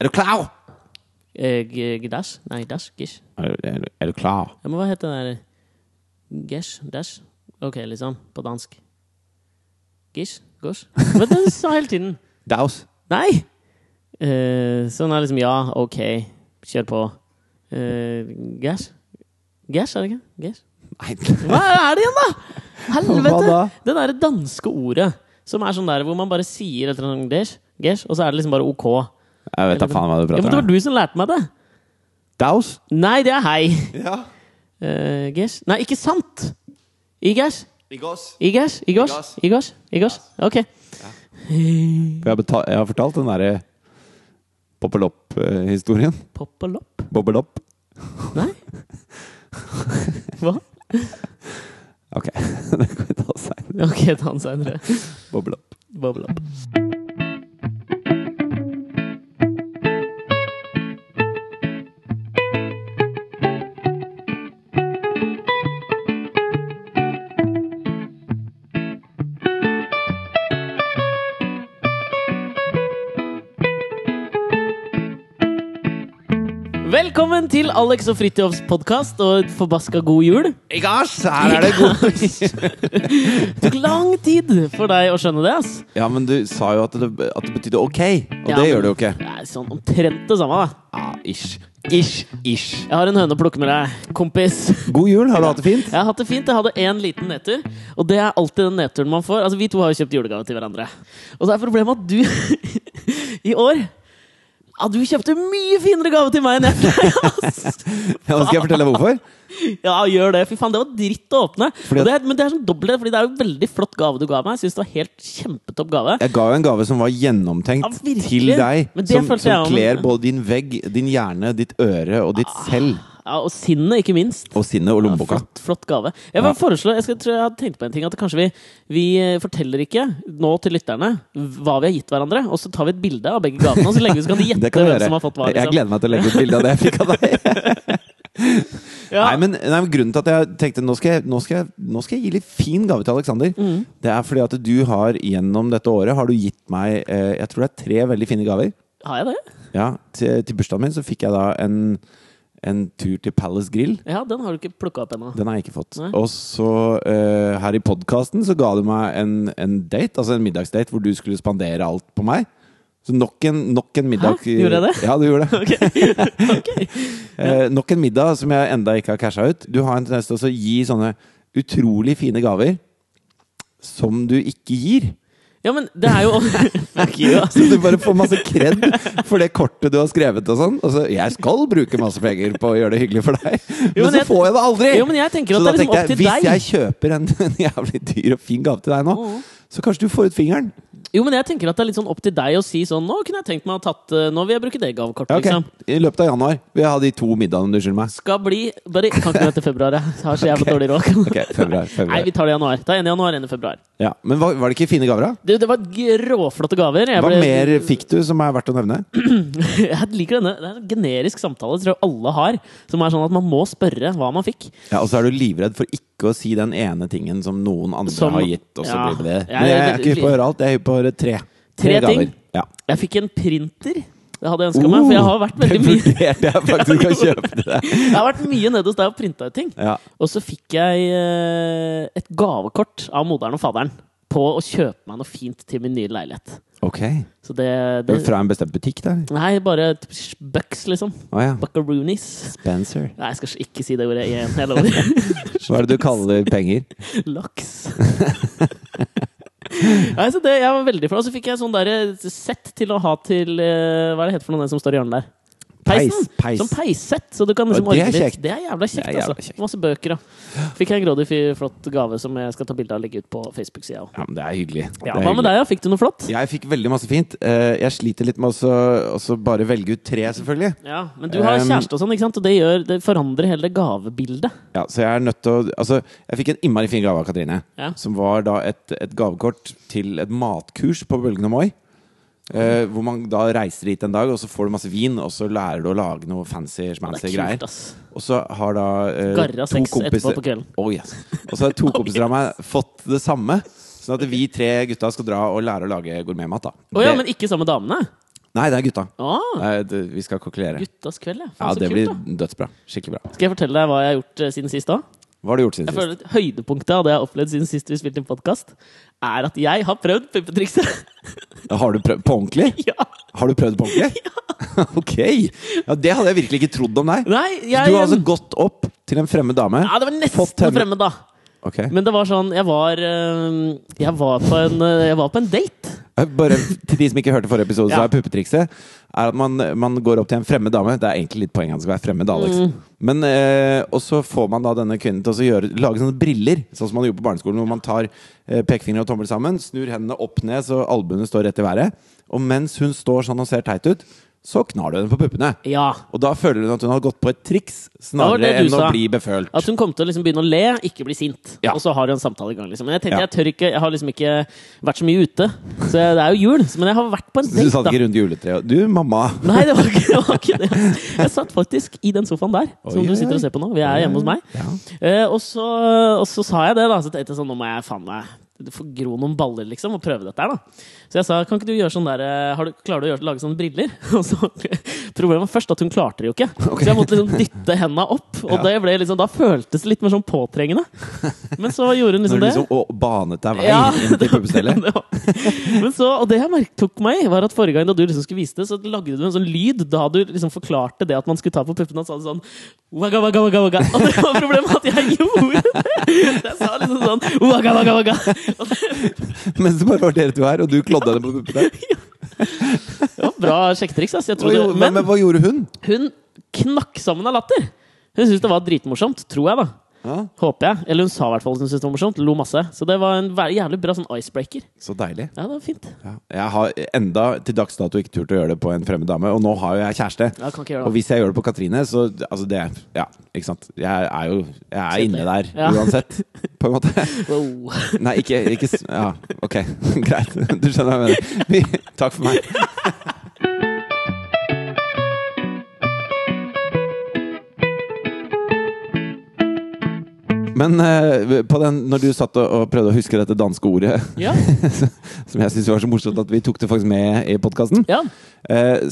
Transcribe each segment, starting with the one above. Er du klar? Eh, g- Gdass? Nei, dass? Gish? Er du, er du, er du klar? Ja, men hva heter den der Gesh? Dash? Ok, liksom. På dansk. Gish? Gosh? Hva er det du sa hele tiden? Daus? Nei! Eh, sånn er liksom ja, ok, kjør på. Uh, gash? Gash, er det ikke? Gash? Nei. Hva er det igjen, da?! Hva Helvete! da? Det derre danske ordet som er sånn der hvor man bare sier et eller annet gash, gash, og så er det liksom bare ok. Jeg vet da faen hva du Ja, men prater om. det var du som lærte meg det! Daus? Nei, det er hei. Ja. Eh, gash Nei, ikke sant! I gash? Igås. I gash? I gosh? I gosh? I gosh? Ok. Jeg har, betalt, jeg har fortalt den eh, derre eh, Poppelopp-historien. Pop og lopp? Bobbelopp. Nei? Hva? Ok, det kan vi ta seinere. Ok, ta den seinere. Bobbelopp. Bubble up. Velkommen til Alex og Fridtjofs podkast, og forbaska god jul. Igås! Her er det god Det tok lang tid for deg å skjønne det, ass. Ja, men du sa jo at det, at det betydde ok, og Ja, det men- gjør det jo ikke. Det er sånn omtrent det samme, da. Ja, ish. Ish. Ish. Jeg har en høne å plukke med deg, kompis. God jul, har du hatt det fint? Jeg har hatt det fint. Jeg hadde én liten nedtur, og det er alltid den nedturen man får. Altså, Vi to har jo kjøpt julegave til hverandre, og så er problemet at du i år ja, du kjøpte mye finere gave til meg enn jeg pleier! ass. Ja, nå skal jeg fortelle hvorfor. Ja, gjør det. Fy faen, det var dritt å åpne. Fordi Og det er, men det er sånn dobbelt, fordi det er jo en veldig flott gave du ga meg. Jeg synes det var helt kjempetopp gave. Jeg ga jo en gave som var gjennomtenkt Ja, virkelig. til deg. Men det Som, følte jeg som om- kler både din vegg, din hjerne, ditt øre og ditt Ah. selv. Ja, Og sinnet, ikke minst. Og sinnet og lommeboka. Flott, flott gave. Jeg vil Ja. foreslå, jeg skal, tror jeg hadde tenkt på en ting, at kanskje vi, vi eh, forteller ikke nå til lytterne hva vi har gitt hverandre, og så tar vi et bilde av begge gavene, og så lenge vi så kan de Det gjette kan vi hvem gjøre. som har fått hva. Jeg Liksom. gleder meg til å legge ut bilde av det jeg fikk av deg. Ja. Nei, men, nei, men Grunnen til at jeg tenkte nå skal jeg, nå skal jeg, nå skal jeg gi litt fin gave til Aleksander, Mm. det er fordi at du har gjennom dette året har du gitt meg eh, jeg tror det er tre veldig fine gaver. Har jeg det? Ja, til, til bursdagen min så fikk jeg da en, en tur til Palace Grill. Ja, den har du ikke plukka opp ennå. Den har jeg ikke fått. Nei. Og så eh, her i podkasten så ga du meg en, en date, altså en middagsdate, hvor du skulle spandere alt på meg. Så nok en, nok en middag Hæ? Gjorde jeg det? Ja, du gjorde det. Ok. Ok. Eh, nok en middag som jeg enda ikke har casha ut. Du har en tendens til å gi sånne utrolig fine gaver som du ikke gir. Ja, men det er jo Fuck you, ass. Så du bare får masse kred for det kortet du har skrevet og sånn. Altså, jeg skal bruke masse penger på å gjøre det hyggelig for deg, men, Jo, men så jeg- får jeg det aldri! Jo, men jeg tenker så at da det er liksom tenkte opp jeg, til hvis deg. jeg kjøper en, en jævlig dyr og fin gave til deg nå, Mhm. så kanskje du får ut fingeren. Jo, men jeg tenker at det er litt sånn opp til deg å si sånn Nå kunne jeg tenkt meg å ha tatt eh, Nå vil jeg bruke det gavekortet, Ja, ok. liksom. I løpet av januar. Vi har de to middagene, du skylder meg. Skal bli bare, Kan ikke vente til februar, jeg har så jævlig Ok. dårlig råd. Ok, februar, Nei, februar. vi tar det i januar. Ta en i januar, en i februar. Ja. Men var, var det ikke fine gaver, da? Det, det var g- råflotte gaver. Jeg Hva ble- mer fikk du som er verdt å nevne? Jeg liker denne. Det er en generisk samtale tror jeg alle har, som er sånn at man må spørre hva man fikk. Ja, Og så er du livredd for ikke å si den ene tingen som noen andre Som- har gitt. Og så ja. blir det Jeg er Men jeg er litt- ikke hypp på å høre alt. Jeg er hypp på å høre tre. Tre ting? gaver. Ja. Jeg fikk en printer. Det hadde jeg ønska meg, for jeg har vært veldig Uh, Det mye vurderte jeg faktisk å kjøpe til deg. Jeg har vært mye nede hos deg og printa ut ting. Ja. Og så fikk jeg eh, et gavekort av moderen og faderen på å kjøpe meg noe fint til min nye leilighet. Ok. Så det, det Men fra en bestemt butikk, da? eller? Nei, bare et bucks, liksom. Å ja. Buckaroonies. Spencer. Nei, jeg skal ikke si det ordet igjen. Jeg lover. Hva er det du kaller penger? Laks. Nei, så det, jeg var veldig fornøyd. Og så fikk jeg sånn der eh, sett til å ha til eh, Hva er det heter for noe det som står i hjørnet der? Peisen! Peis, peis. Sånn peissett. Så du kan Og liksom det er ordne litt. kjekt. Det er jævla kjekt, Det er jævla altså. kjekt. Masse bøker, da. Fikk jeg en grådig fyr- flott gave som jeg skal ta bilde av og legge ut på Facebook-sida òg. Ja, men det er hyggelig. Det Ja, er hva med hyggelig. deg, da? Fikk du noe flott? Jeg fikk veldig masse fint. Eh, Jeg sliter litt med å så- også bare velge ut tre, selvfølgelig. Ja, Men du har Um, kjæreste og sånn, ikke sant? Og det, gjør, det forandrer hele det gavebildet. Ja, så jeg er nødt til å Altså, jeg fikk en innmari fin gave av Katrine. Ja. Som var da et, et gavekort til et matkurs på Bølgen og Moi. Eh, hvor man da reiser dit en dag, og så får du masse vin, og så lærer du å lage noe fancy, Det schmancy er greier. kult, ass. Og så har da eh, Garra to sex etterpå kompiser på kvelden. Oh, yes. Og så har to kompiser av meg fått det samme. Sånn at vi tre gutta skal dra og lære å lage gourmetmat. da. Å ja, Det- men ikke sammen med damene? Nei, det er gutta. Ah, Nei, det, vi skal kokkelere. guttas kveld, ja. Faen, Ja, så det kult, blir da. dødsbra. Skikkelig bra. Skal jeg fortelle deg hva jeg har gjort eh, siden sist da? Hva har du gjort siden Jeg sist? føler at Høydepunktet av det jeg har opplevd siden sist vi spilte inn podkast, er at jeg har prøvd puppetrikset. Har du prøvd på ordentlig? ja. Har du prøvd på ordentlig? ok! Ja, det hadde jeg virkelig ikke trodd om deg. Nei, jeg Du har altså gått opp til en fremmed dame. Ja, det var Fått nesten henne- fremmed, da. Ok. Men det var sånn Jeg var, eh, jeg var, på, en, eh, jeg var på en date. Eh, Bare til de som ikke hørte forrige episode, så Ja. er puppetrikset er at man, man går opp til en fremmed dame. Det er egentlig litt poenget at det skal være fremmed, Alex. Mm. Men, eh, og så får man da denne kvinnen til å så gjøre, lage sånne briller, sånn som man gjorde på barneskolen, hvor man tar eh, pekefinger og tommel sammen, snur hendene opp ned så albuene står rett i været. Og mens hun står sånn og ser teit ut, så knar du henne på puppene. Ja. Og da føler hun at hun har gått på et triks, var snarere det du enn å sa. bli befølt. At hun kom til å liksom begynne å le, ikke bli sint. Ja. Og så har hun en samtale i gang. Liksom. Men jeg tenkte, Ja. jeg tør ikke Jeg har liksom ikke vært så mye ute. Så jeg, det er jo jul, så- men jeg har vært på en Du date, satt da. ikke rundt juletreet. og- Du, mamma Nei, det var, ikke, det var ikke det. Jeg satt faktisk i den sofaen der, som Oi, du sitter oi. og ser på nå. Vi er hjemme hos meg. Ja. Eh, og, så, og så sa jeg det, da. Så tenkte jeg sånn, nå må jeg faen meg få gro noen baller, liksom, og prøve dette her, da. Så jeg sa, kan ikke du gjøre sånn der eh, har du, Klarer du å gjøre, lage sånne briller? Og så Problemet var først at hun klarte det jo ikke. Så jeg måtte liksom dytte henda opp. Og Ja. det ble liksom, da føltes det litt mer sånn påtrengende. Men så gjorde hun Når liksom du det. liksom å, banet deg vei Ja, inn til puppestellet. det var- Men så, og det jeg merket tok meg, var at forrige gang da du liksom skulle vise det, så lagde du en sånn lyd da du liksom forklarte det at man skulle ta på puppene, og sa det sånn Wagga, wagga, wagga, wagga. Og det var problemet at jeg gjorde det! Jeg sa liksom sånn Wagga, wagga, wagga. Og det Mens det bare var dere to her, og du klådde henne på puppene. var bra sjekketriks, ass. Jeg Hva trodde, gjorde- Men, men men hva gjorde hun? hun knakk sammen av latter! Hun syntes det var dritmorsomt, tror jeg, da. Ja, Håper jeg. Eller hun sa i hvert fall at hun syntes det var morsomt. Lo masse. Så det var en vær- jævlig bra sånn icebreaker. så deilig. Ja, det var fint. Ja. Jeg har enda til dags dato ikke turt å gjøre det på en fremmed dame, og nå har jo jeg kjæreste. Ja, kan ikke gjøre Og det. hvis jeg gjør det på Katrine, så altså det Ja, ikke sant. Jeg er jo jeg er inne der Ja. uansett, på en måte. Wow. Nei, ikke, ikke s- Ja, ok. Greit. Du skjønner hva jeg mener. Vi, takk for meg. Men eh, på den, når du satt og, og prøvde å huske dette danske ordet, Ja. som jeg syns var så morsomt at vi tok det faktisk med i podkasten, ja.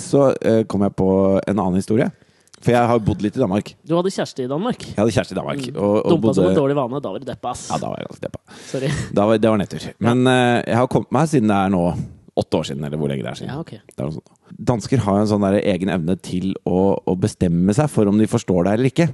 så eh, kom jeg på en annen historie. For jeg har bodd litt i Danmark. Du hadde kjæreste i Danmark. Jeg hadde kjæreste i Danmark. Og, og Mm. Dumpa som bodde en dårlig vane. Da var du deppa, ass. Ja, da var jeg ganske deppa. Sorry. Da var, det var nedtur. Men eh, jeg har kommet meg siden det er nå åtte år siden, eller hvor lenge det er siden. Ja, ok. Det er noe sånt. Dansker har jo en sånn der egen evne til å, å bestemme seg for om de forstår deg eller ikke.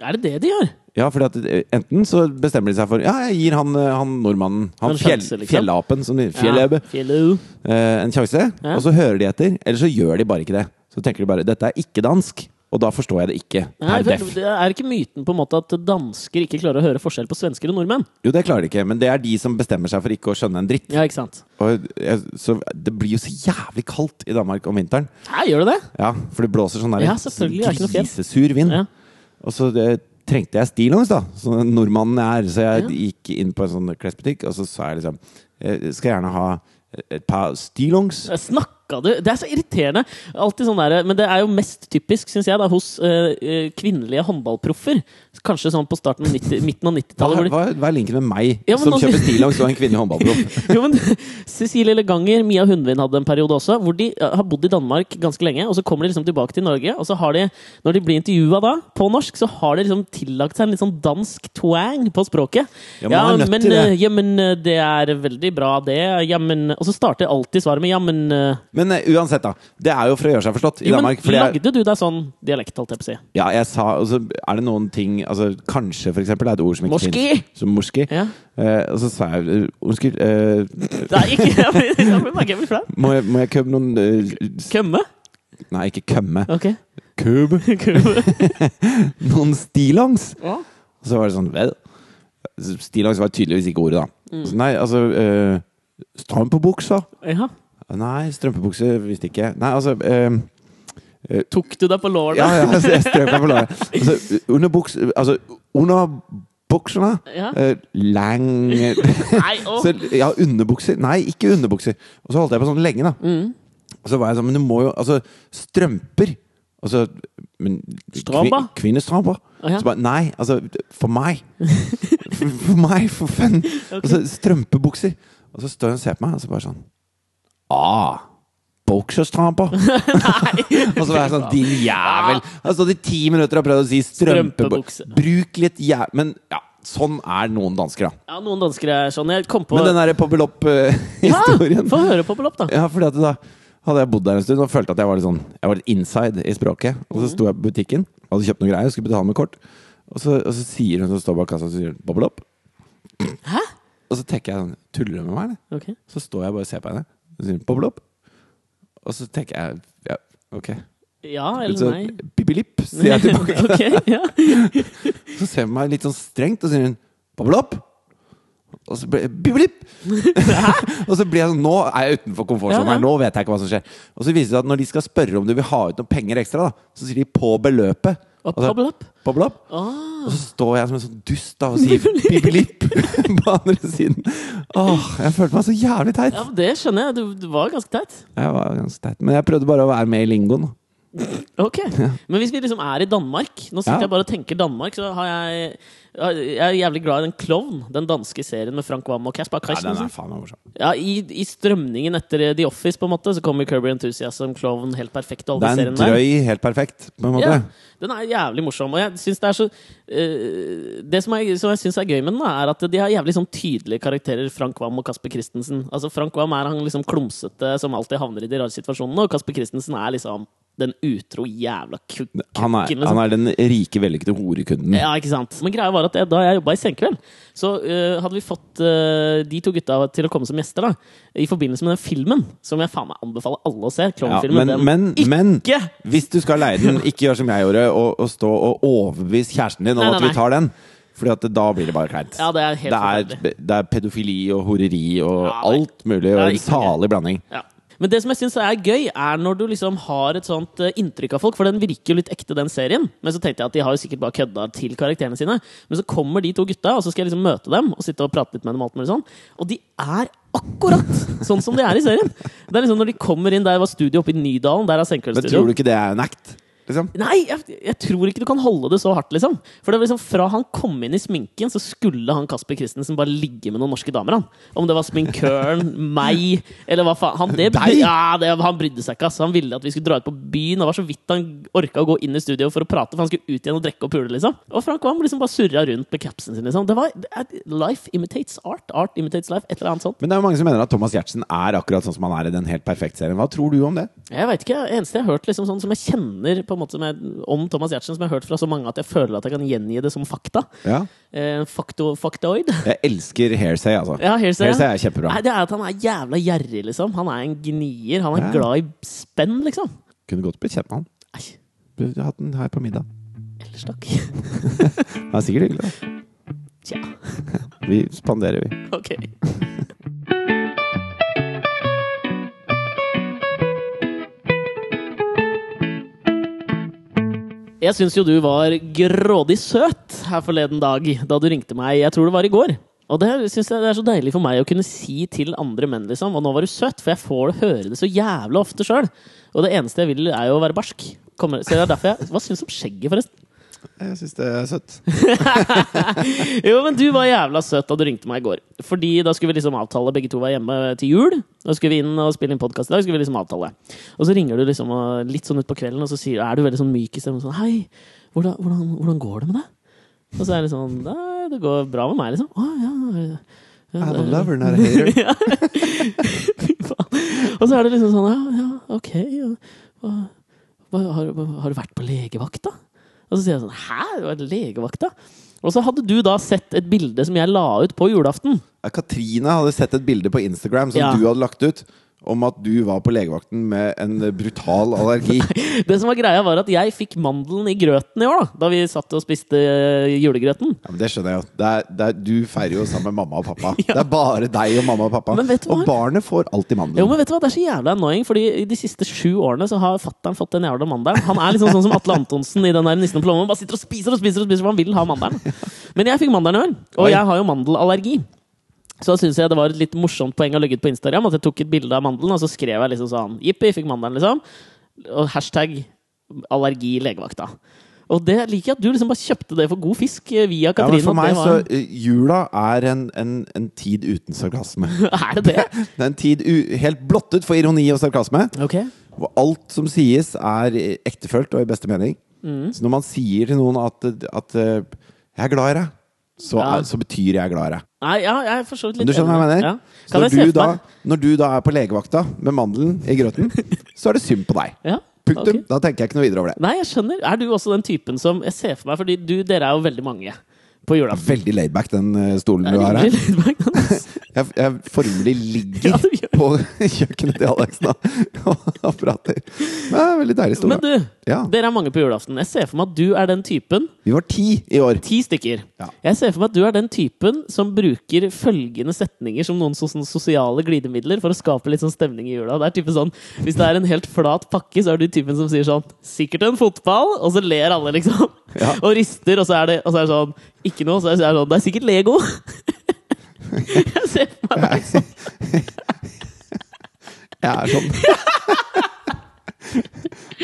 Er det det de gjør? Ja, fordi at eh, Enten så bestemmer de seg for Ja, jeg gir han, eh, han nordmannen, han En fjell, sjanse, liksom. fjellapen, som de, fjellebe, Ja, Fjellu. eh, en sjanse. Ja. Og så hører de etter. Eller så gjør de bare ikke det. Så tenker de bare dette er ikke dansk, og da forstår jeg det ikke. Nei, Per vel, deff. det er ikke myten på en måte at dansker ikke klarer å høre forskjell på svensker og nordmenn? Jo, det klarer de ikke, men det er de som bestemmer seg for ikke å skjønne en dritt. Ja, ikke sant? Og jeg, så det blir jo så jævlig kaldt i Danmark om vinteren. Nei, gjør du det? Ja, for det blåser sånn der Ja, selvfølgelig, det er ikke noe fjell. grisesur vind. Ja. Og så det, trengte jeg stillongs, da, som den nordmannen jeg er. Så jeg gikk inn på en sånn klesbutikk, og så sa jeg liksom «Jeg Skal gjerne ha et par stillongs. Snakka du Det er så irriterende! Alltid sånn der, Men det er jo mest typisk, syns jeg, da, hos eh, eh, kvinnelige håndballproffer. Kanskje sånn på starten av 90, midten av Hva, 90-tallet. hvor de- hva, hva er linken med meg Ja, men som nå- kjøper stillongs og en kvinnelig håndballproff? jo, men Cecilie Leganger, Mia Hundvin hadde en periode også, hvor de eh, har bodd i Danmark ganske lenge, og så kommer de liksom tilbake til Norge, og så har de, når de blir intervjua da, på norsk, så har de liksom tillagt seg en litt sånn dansk twang på språket. Ja, man er nødt men, til det. eh, Ja, men eh, det er veldig bra, det. Ja, men Og så starter alltid svaret med ja, men eh, Men eh, uansett, da. Det er jo for å gjøre seg forstått i Jo, men Danmark. fordi jeg- lagde du deg sånn dialekt, holdt jeg på å si? Ja, jeg sa altså, Er det noen ting altså, Kanskje, for eksempel, er et ord som ikke Morski! finnes. Som morski. Ja. Eh, og så sa jeg eh, Unnskyld, eh, Nei, ikke Jeg blir, jeg blir, jeg blir flau. må, jeg- må jeg købe noen eh, s- Kømme? Nei, ikke kømme. Ok. Købe Kømme. noen stillongs! Ja. Og så var det sånn Vel? Stillongs var tydeligvis ikke ordet, da. Mm. Så nei, altså eh, Strømpebukser? ja. Nei, strømpebukse visste ikke. Nei, altså eh, Tok du deg på lårene? Ja, ja, altså, jeg strøk meg på låret. Altså, under buks... Altså, under buksene Ja. eh, Lang Nei, å. Så, ja, underbukser. Nei, ikke underbukser. Og så holdt jeg på sånn lenge, da. Mm. Og så var jeg sånn, men du må jo Altså, strømper Altså, men Strømper? kvi- Kvinnestramper? Å, ja. Så bare Nei, altså, for meg. For, for meg, for fun. Og så strømpebukser. Og så står hun og ser på meg, og så bare sånn Ah, Boksjøstran på! og så var jeg sånn Din jævel! Jeg har stått i ti minutter og prøvd å si strømpebukse. Strømpebukse. Bruk litt jæ... Men ja, sånn er noen dansker, da. Ja, noen dansker er sånn. Jeg kom på Men den derre ja, poppelopp-historien Få høre på Belopp, da. eh, Ja, fordi at da hadde jeg bodd der en stund og følte at jeg var litt sånn Jeg var litt inside i språket. Og Mhm. så sto jeg på butikken, hadde kjøpt noen greier, skulle betale med kort. Og så, og så sier hun som står bak kassa, så sier hun 'boble opp'. Hæ? Og så tenker jeg sånn Tuller hun med meg, eller? Ok. Så står jeg bare og ser på henne, og så sier hun 'boble opp'. Og så tenker jeg ja, ok. Ja Så eller nei? pippilipp, sier jeg tilbake. ok, ja. Så ser hun meg litt sånn strengt, og så sier hun 'boble opp'. Og så ble Biblipp! og så blir jeg sånn Nå er jeg utenfor komfortsonen Ja, ja. her. Nå vet jeg ikke hva som skjer. Og så viser det seg at når de skal spørre om du vil ha ut noen penger ekstra, da, så sier de 'på beløpet'. Og Altså, boble opp. på beløp. Ah. Og så står jeg som en sånn dust da og sier biblipp på andre siden. Åh, jeg følte meg så jævlig teit. Ja, men Det skjønner jeg. Det- Det var ganske teit. Jeg var ganske teit. Men jeg prøvde bare å være med i lingoen. da. Ok, Men hvis vi liksom er i Danmark Nå sitter Ja. jeg bare og tenker Danmark, så har jeg Jeg er jævlig glad i den Klovn, den danske serien med Frank Wam og Caspar Ja, den er Christensen. faen meg morsom. Ja, i, I strømningen etter eh, The Office på en måte Så kommer Kirby Enthusiasm, Klovn, helt perfekt. og Det alle er en seriene der. drøy helt perfekt, på en måte. Ja, den er jævlig morsom. Og jeg synes det er så eh, Det som jeg, som jeg syns er gøy med den, da, er at de har jævlig sånn tydelige karakterer, Frank Wam og Kasper Christensen. Altså Frank Wam er han liksom klumsete som alltid havner i de rare situasjonene, og Kasper Christensen er liksom den utro jævla kuk- Han, er, kukken. han Liksom. er den rike, vellykkede horekunden. Ja, ikke sant? Men greia var at jeg, da jeg jobba i Senkveld, så eh, hadde vi fått eh, de to gutta til å komme som gjester da i forbindelse med den filmen, som jeg faen meg anbefaler alle å se. Ja, Klovnfilmen. men, den men, men ikke hvis du skal leie den, ikke gjør som jeg gjorde, og, og stå og overbevise kjæresten din om Nei, at nei, vi tar den. Fordi at da blir det bare kleint. Ja, det er helt det, er, det er pedofili og horeri og Ja, nei. alt mulig. Og Det er en ikke salig blanding. Ja. Men det som jeg syns er gøy, er når du liksom har et sånt eh, inntrykk av folk. For den virker jo litt ekte, den serien. Men så tenkte jeg at de har jo sikkert bare kødda til karakterene sine. Men så kommer de to gutta, og så skal jeg liksom møte dem og sitte og prate litt med dem. Og alt mulig sånn Og de er akkurat sånn som de er i serien! Det er liksom Når de kommer inn der var studio oppe i Nydalen, der er Men tror Senkveldstudio. du ikke det er en act? Liksom? Nei, jeg, jeg tror ikke du kan holde det så hardt, liksom. For det var liksom Fra han kom inn i sminken, så skulle han Kasper Christensen bare ligge med noen norske damer. han Om det var sminkøren, meg, eller hva faen. Han, det, Deg? ja, det, han brydde seg ikke. ass. Han ville at vi skulle dra ut på byen. Det var så vidt han orka å gå inn i studio for å prate, for han skulle ut igjen og drikke og pule, liksom. Og Frank Wam liksom bare surra rundt med capsen sin, liksom. Det var det er- Life imitates art. Art imitates life. Et eller annet sånt. Men det er jo mange som mener at Thomas Giertsen er akkurat sånn som han er i den helt perfekte serien. Hva tror du om det? Jeg vet ikke, Det eneste jeg har hørt liksom, sånn, som jeg kjenner på en måte som jeg, om Thomas Giertsen, som jeg har hørt fra så mange at jeg føler at jeg kan gjengi det som fakta, Ja. Eh, fakto, faktoid. Jeg elsker Hairsay, altså. Ja, Hearsay, ja. Hearsay er kjempebra. Nei, det er at han er jævla gjerrig, liksom. Han er en gnier. Han er Ja. glad i spenn, liksom. Kunne godt blitt kjent med han. Nei, Burde hatt den her på middag. ellers takk. Det er sikkert hyggelig. da. Tja, Vi spanderer, vi. ok. Jeg syns jo du var grådig søt her forleden dag da du ringte meg. Jeg tror det var i går. Og det syns jeg det er så deilig for meg å kunne si til andre menn, liksom. Og nå var du søt, for jeg får det- høre det så jævla ofte sjøl. Og det eneste jeg vil, er jo å være barsk. Kommer, så det er derfor jeg, Hva syns du om skjegget, forresten? Jeg syns det er søtt. Jo, men du var jævla søt da du ringte meg i går. Fordi da skulle vi liksom avtale, begge to var hjemme til jul. Da skulle vi inn og spille inn podkast i dag. skulle vi liksom avtale Og så ringer du liksom og litt sånn utpå kvelden, og så sier, er du veldig sånn myk i stemmen. Sånn, Hei, hvordan, hvordan, hvordan går det med deg? Og så er det sånn Nei, det går bra med meg, liksom. Å, ja, ja. I'm a lover, not a hater. Og så er det liksom sånn Ja, ja, ok. Ja. Hva, hva, har, hva- har du vært på legevakt, da? Og så sier jeg sånn Hæ? Du har vært legevakt, da? Og så hadde du da sett et bilde som jeg la ut på julaften. Ja, Katrine hadde sett et bilde på Instagram som Ja. du hadde lagt ut, om at du var på legevakten med en brutal allergi. Det som var greia, var at jeg fikk mandelen i grøten i år, da. Da vi satt og spiste eh, julegrøten. Ja, men det skjønner jeg jo. Det er, det er, du feirer jo sammen med mamma og pappa. Det er bare deg og mamma og pappa. Men vet du hva? og barnet får alltid Jo, mandel. men vet du hva, Det er så jævla annoying, Fordi i de siste sju årene så har fattern fått den jævla mandelen. Han er liksom sånn som Atle Antonsen i den der Nissen på lomma. Han Bare sitter og spiser og spiser, og spiser for han vil ha mandelen. Men jeg fikk mandelen i år, og Oi. jeg har jo mandelallergi. Så da syns jeg det var et litt morsomt poeng å legge ut på Instagram. At jeg tok et bilde av mandelen, og så skrev jeg liksom sånn Jippi, fikk mandelen, liksom. Og hashtag allergi legevakta. Og det liker jeg at du liksom bare kjøpte det for god fisk eh, via Ja, Katrine. men for at det meg så var- eh, Jula er en, en, en tid uten sarkasme. Er det det? Det er en tid u helt blottet for ironi og sarkasme. Ok. Og alt som sies, er eh, ektefølt og i beste mening. Mm. Så når man sier til noen at, at eh, 'jeg er glad i deg', så, Ja. er, så betyr 'jeg er glad i deg'. Nei, ja, jeg er for så vidt litt Men du skjønner hva jeg enig. mener? Ja. Så Kan når jeg se du, for da, meg? når du da er på legevakta med mandelen i grøten, så er det synd på deg. Ja, Punktum. ok. Da tenker jeg ikke noe videre over det. Nei, jeg skjønner. Er du også den typen som Jeg ser for meg, fordi du, dere er jo veldig mange på julaften. Veldig laidback, den eh, stolen du har Jeg her. ligger litt bak den, ass. Jeg, jeg formelig ligger Ja, du gjør på kjøkkenet til Alexen og- og prater. Men det er en veldig deilig stol. Men du, da. Ja. dere er mange på julaften. Jeg ser for meg at du er den typen Vi var ti i år. Ti stykker. Ja. Jeg ser for meg at du er den typen som bruker følgende setninger som noen så- sånn sosiale glidemidler for å skape litt sånn stemning i jula. Det er typen sånn, Hvis det er en helt flat pakke, så er du typen som sier sånn 'Sikkert en fotball', og så ler alle, liksom. Ja. Og rister, og så er det, og så er det sånn 'Ikke noe', så er det sånn 'Det er sikkert Lego'. Jeg ser for meg deg sånn. Jeg er sånn.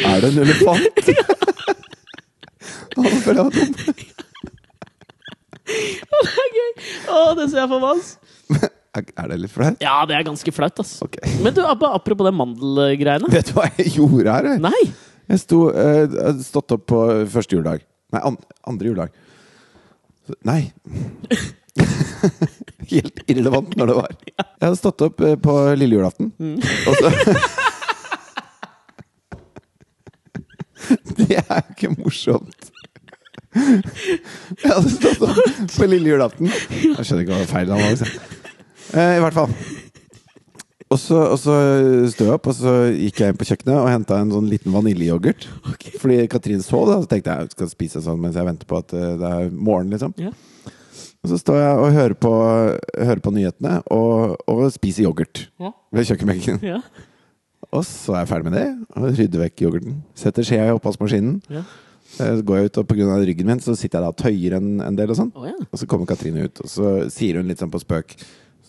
er det en elefant? Å, Nå føler jeg meg dum. Det er gøy! Å, det ser jeg for meg, ass. Er er det litt flaut? Ja, det er ganske flaut, ass. Ok. Men du, Abba, apropos det mandelgreiene. Vet du hva jeg gjorde her? jeg? Nei! Jeg sto, eh, hadde stått opp på første juledag. Nei, an andre juledag. Nei. Helt irrelevant når det var. Mm. Jeg hadde stått opp eh, på lille julaften. Og så Det er jo ikke morsomt. Jeg hadde stått opp på lille julaften. Jeg skjønner ikke hva feil han var. liksom. Eh, I hvert fall. Og så, og så stod jeg opp, og så gikk jeg inn på kjøkkenet og henta en sånn liten vaniljeyoghurt. Ok. Fordi Katrin sov, da, så tenkte jeg jeg skal spise sånn mens jeg venter på at eh, det er morgen. liksom Ja. og så står jeg og hører på, hører på nyhetene og, og spiser yoghurt Ja. ved kjøkkenbenken. Ja. Og så er jeg ferdig med det og rydder vekk yoghurten. Setter skjea i oppvaskmaskinen. Ja. Eh, Så går jeg ut, og pga. ryggen min så sitter jeg da og tøyer en, en del. Og sånn Å, ja. Og så kommer Katrine ut, og så sier hun litt sånn på spøk